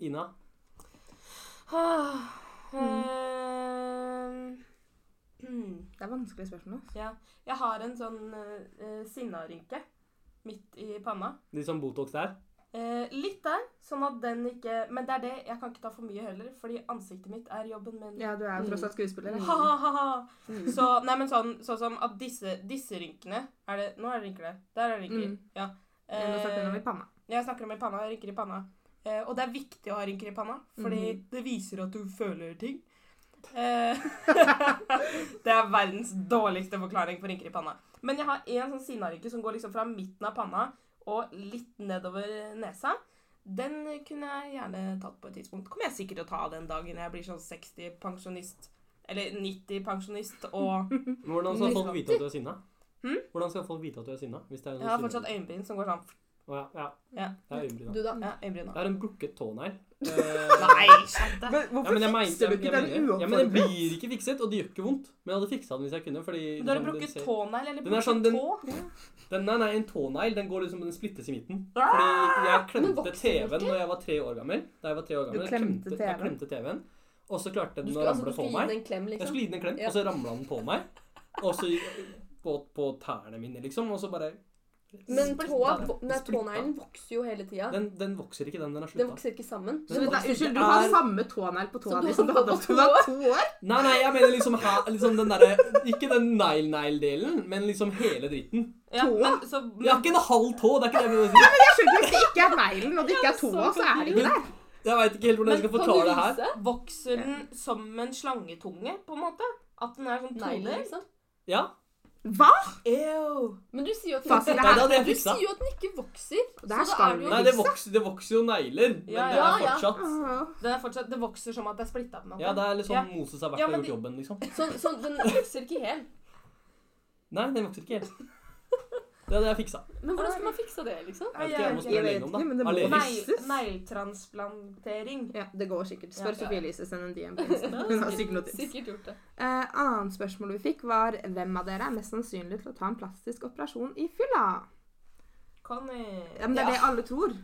Ina, Ah, Mm. eh, hmm. Det er vanskelig spørsmål. ass. Ja. Jeg har en sånn uh, sinnarynke midt i panna. de som Botox der. Eh, litt der, sånn at den ikke Men det er det, jeg kan ikke ta for mye heller, fordi ansiktet mitt er jobben [laughs] min. Ja, du er jo tross alt skuespiller. da. Ha-ha-ha! Mm. Så, nei, men sånn, sånn som at disse, disse rynkene er det, Nå er det rynker der. Der er det rynker. Mm. Ja. Men Nå snakker vi om Eh, i panna. jeg snakker om i panna, rynker i panna. Eh, og det er viktig å ha rynker i panna, fordi Mhm. det viser at du føler ting. Eh, [laughs] det er verdens dårligste forklaring på rynker i panna. Men jeg har en sånn sinnarynke som går liksom fra midten av panna og litt nedover nesa. Den kunne jeg gjerne tatt på et tidspunkt. Kommer jeg sikkert til å ta den dagen jeg blir sånn 60-pensjonist. Eller 90-pensjonist [laughs] og Men hvordan skal folk vite at du er sinna? Hm? Hvordan skal folk vite at du er sinna? Hvis det er en Jeg har sånn fortsatt øyenbryn som går sånn. Å ja, ja. Ja, Det er øyenbryn, da. Du da? ja øyenbryn. Jeg har en brukket tånegl. Eh, Nei, skjønt det. Men Ja, men jeg mener- jeg- jeg mener- Ja, men den uoppfordret? blir ikke fikset, og det gjør ikke vondt. Men jeg hadde fiksa den hvis jeg kunne. Fordi Du har liksom, den brukket ser- tånegl eller Den er brukket sånn- den- tå. Den, nei, nei, en tånegl den går liksom, den splittes i midten. Ah! Fordi Men jeg klemte vokser den TV-en da jeg var tre år gammel. Da jeg var tre år gammel, Du jeg klemte Jeg TV-en? klemte TV-en. Og så klarte Du den å skulle, altså, du ramle på skulle gi meg. den en klem, Jeg liksom? skulle gi den en klem, Ja. og så ramla den på meg. Og så på, på tærne mine, liksom. Og så bare Men Splitta tåa, den. vo- nei, Splitta. tåneglen vokser jo hele tida. Den, den vokser ikke, den. Den er Den slutta. vokser ikke sammen. Så vent da, Unnskyld, du Det har er- samme tånegl på tåa Som du di som du hadde hadde da du på var to [laughs] år? Nei, nei, jeg mener liksom, her, liksom den derre Ikke den negl-negl-delen, men liksom hele dritten. Ja, Tå? men, så, men, Jeg har ikke en halv tå. det er ikke det jeg mener å si. Jeg skjønner Hvis det ikke er neglen, og det ikke er tåa, så er det ikke det. Jeg veit ikke helt hvordan jeg skal forklare det her. Vokser den som en slangetunge, på en måte? At den er sånn Neglen, toner? liksom. Ja, Hva? Ew. Men du sier jo at den Fasit, det ikke, nei, her det hadde jeg du fiksa. sier jo at den ikke vokser. Så her da skal er det jo vi- Nei, det vokser, det vokser jo negler, men Ja, ja. det er Ja, ja. fortsatt Åh. Den er fortsatt, det vokser som at det er splitta. Ja, det er liksom Ja. Moses har vært Ja, og men gjort de- jobben, liksom. Sånn, sånn, den vokser ikke helt. Nei, den vokser ikke helt. Det hadde jeg fiksa. Men hvordan skal man fikse det, liksom? Jeg vet ikke, jeg må jeg vet spørre legen om ikke, men det det. må- Allergisk. Nei. Negl- Negletransplantering. Ja, det går sikkert. Spør Ja, ja. Sofie Elise, send en DM. på Insta. Hun har sikkert noe tips. Sikkert gjort det. Eh, annet spørsmål vi fikk, var hvem av dere er mest sannsynlig til å ta en plastisk operasjon i fylla? Conny. Ja, men det er Ja. det alle tror.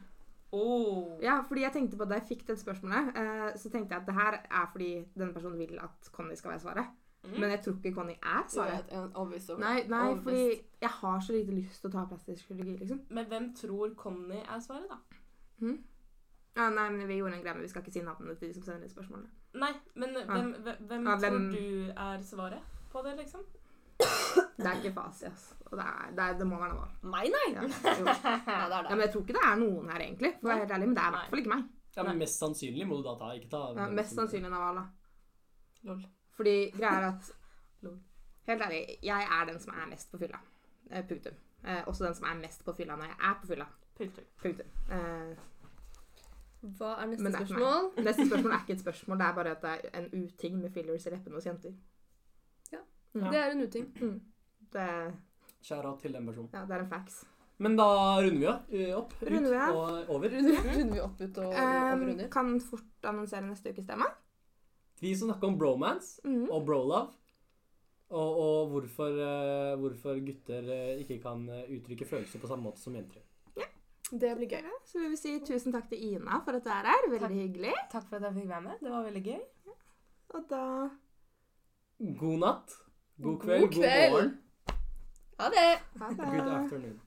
Oh. Ja, fordi jeg tenkte på Da jeg fikk det spørsmålet, eh, så tenkte jeg at det her er fordi denne personen vil at Conny skal være svaret. Mm. Men jeg tror ikke Conny er Så jeg svaret. er jeg overbevist over det. Nei, nei, Overbevist. fordi jeg har så lite lyst til å ta plastisk kirurgi, liksom. Men hvem tror Conny er svaret, da? Ja, nei, men Vi gjorde en greie, men vi skal ikke si navnet til de som sender inn spørsmålene. Nei, men hvem, hvem, hvem Ja, tror hvem- du er svaret på det, liksom? Det er ikke fasi, ass. Og det, er, det, er, det må være noe. Meg, nei! Ja, [laughs] jo. Nei, det er Ja, det. men jeg tror ikke det er noen her, egentlig. For å være helt ærlig, Men det er i hvert fall ikke meg. Ja, men mest sannsynlig må du da ta. Ikke ta Ja, mest sannsynlig Navala. Lol. Fordi greia er [laughs] at Lol. Helt ærlig, jeg er den som er mest på fylla. Eh, punktum. Eh, også den som er mest på fylla når jeg er på fylla. Punktum. Punktum. Eh, Hva er neste Men det er ikke meg. spørsmål? neste spørsmål er ikke et spørsmål, det er bare at det er en uting med fillers i leppene hos jenter. Ja. Det er en uting. Det, Kjære til den personen. ja, det er en facts. Men da runder vi av, eh, opp. Ut Runder vi av. og over. Runder vi opp ut og over Um, under? kan fort annonsere neste ukes tema. Vi som snakker om bromance Mhm. og brolove. Og, og hvorfor, eh, hvorfor gutter eh, ikke kan eh, uttrykke følelser på samme måte som jenter. Det blir gøy. Så vi vil si tusen takk til Ina for at du er her. Veldig Takk. hyggelig. Takk for at jeg fikk være med. Det var veldig gøy. Og da God natt. God kveld. God, kveld. morgen. Ha det! ha Good afternoon.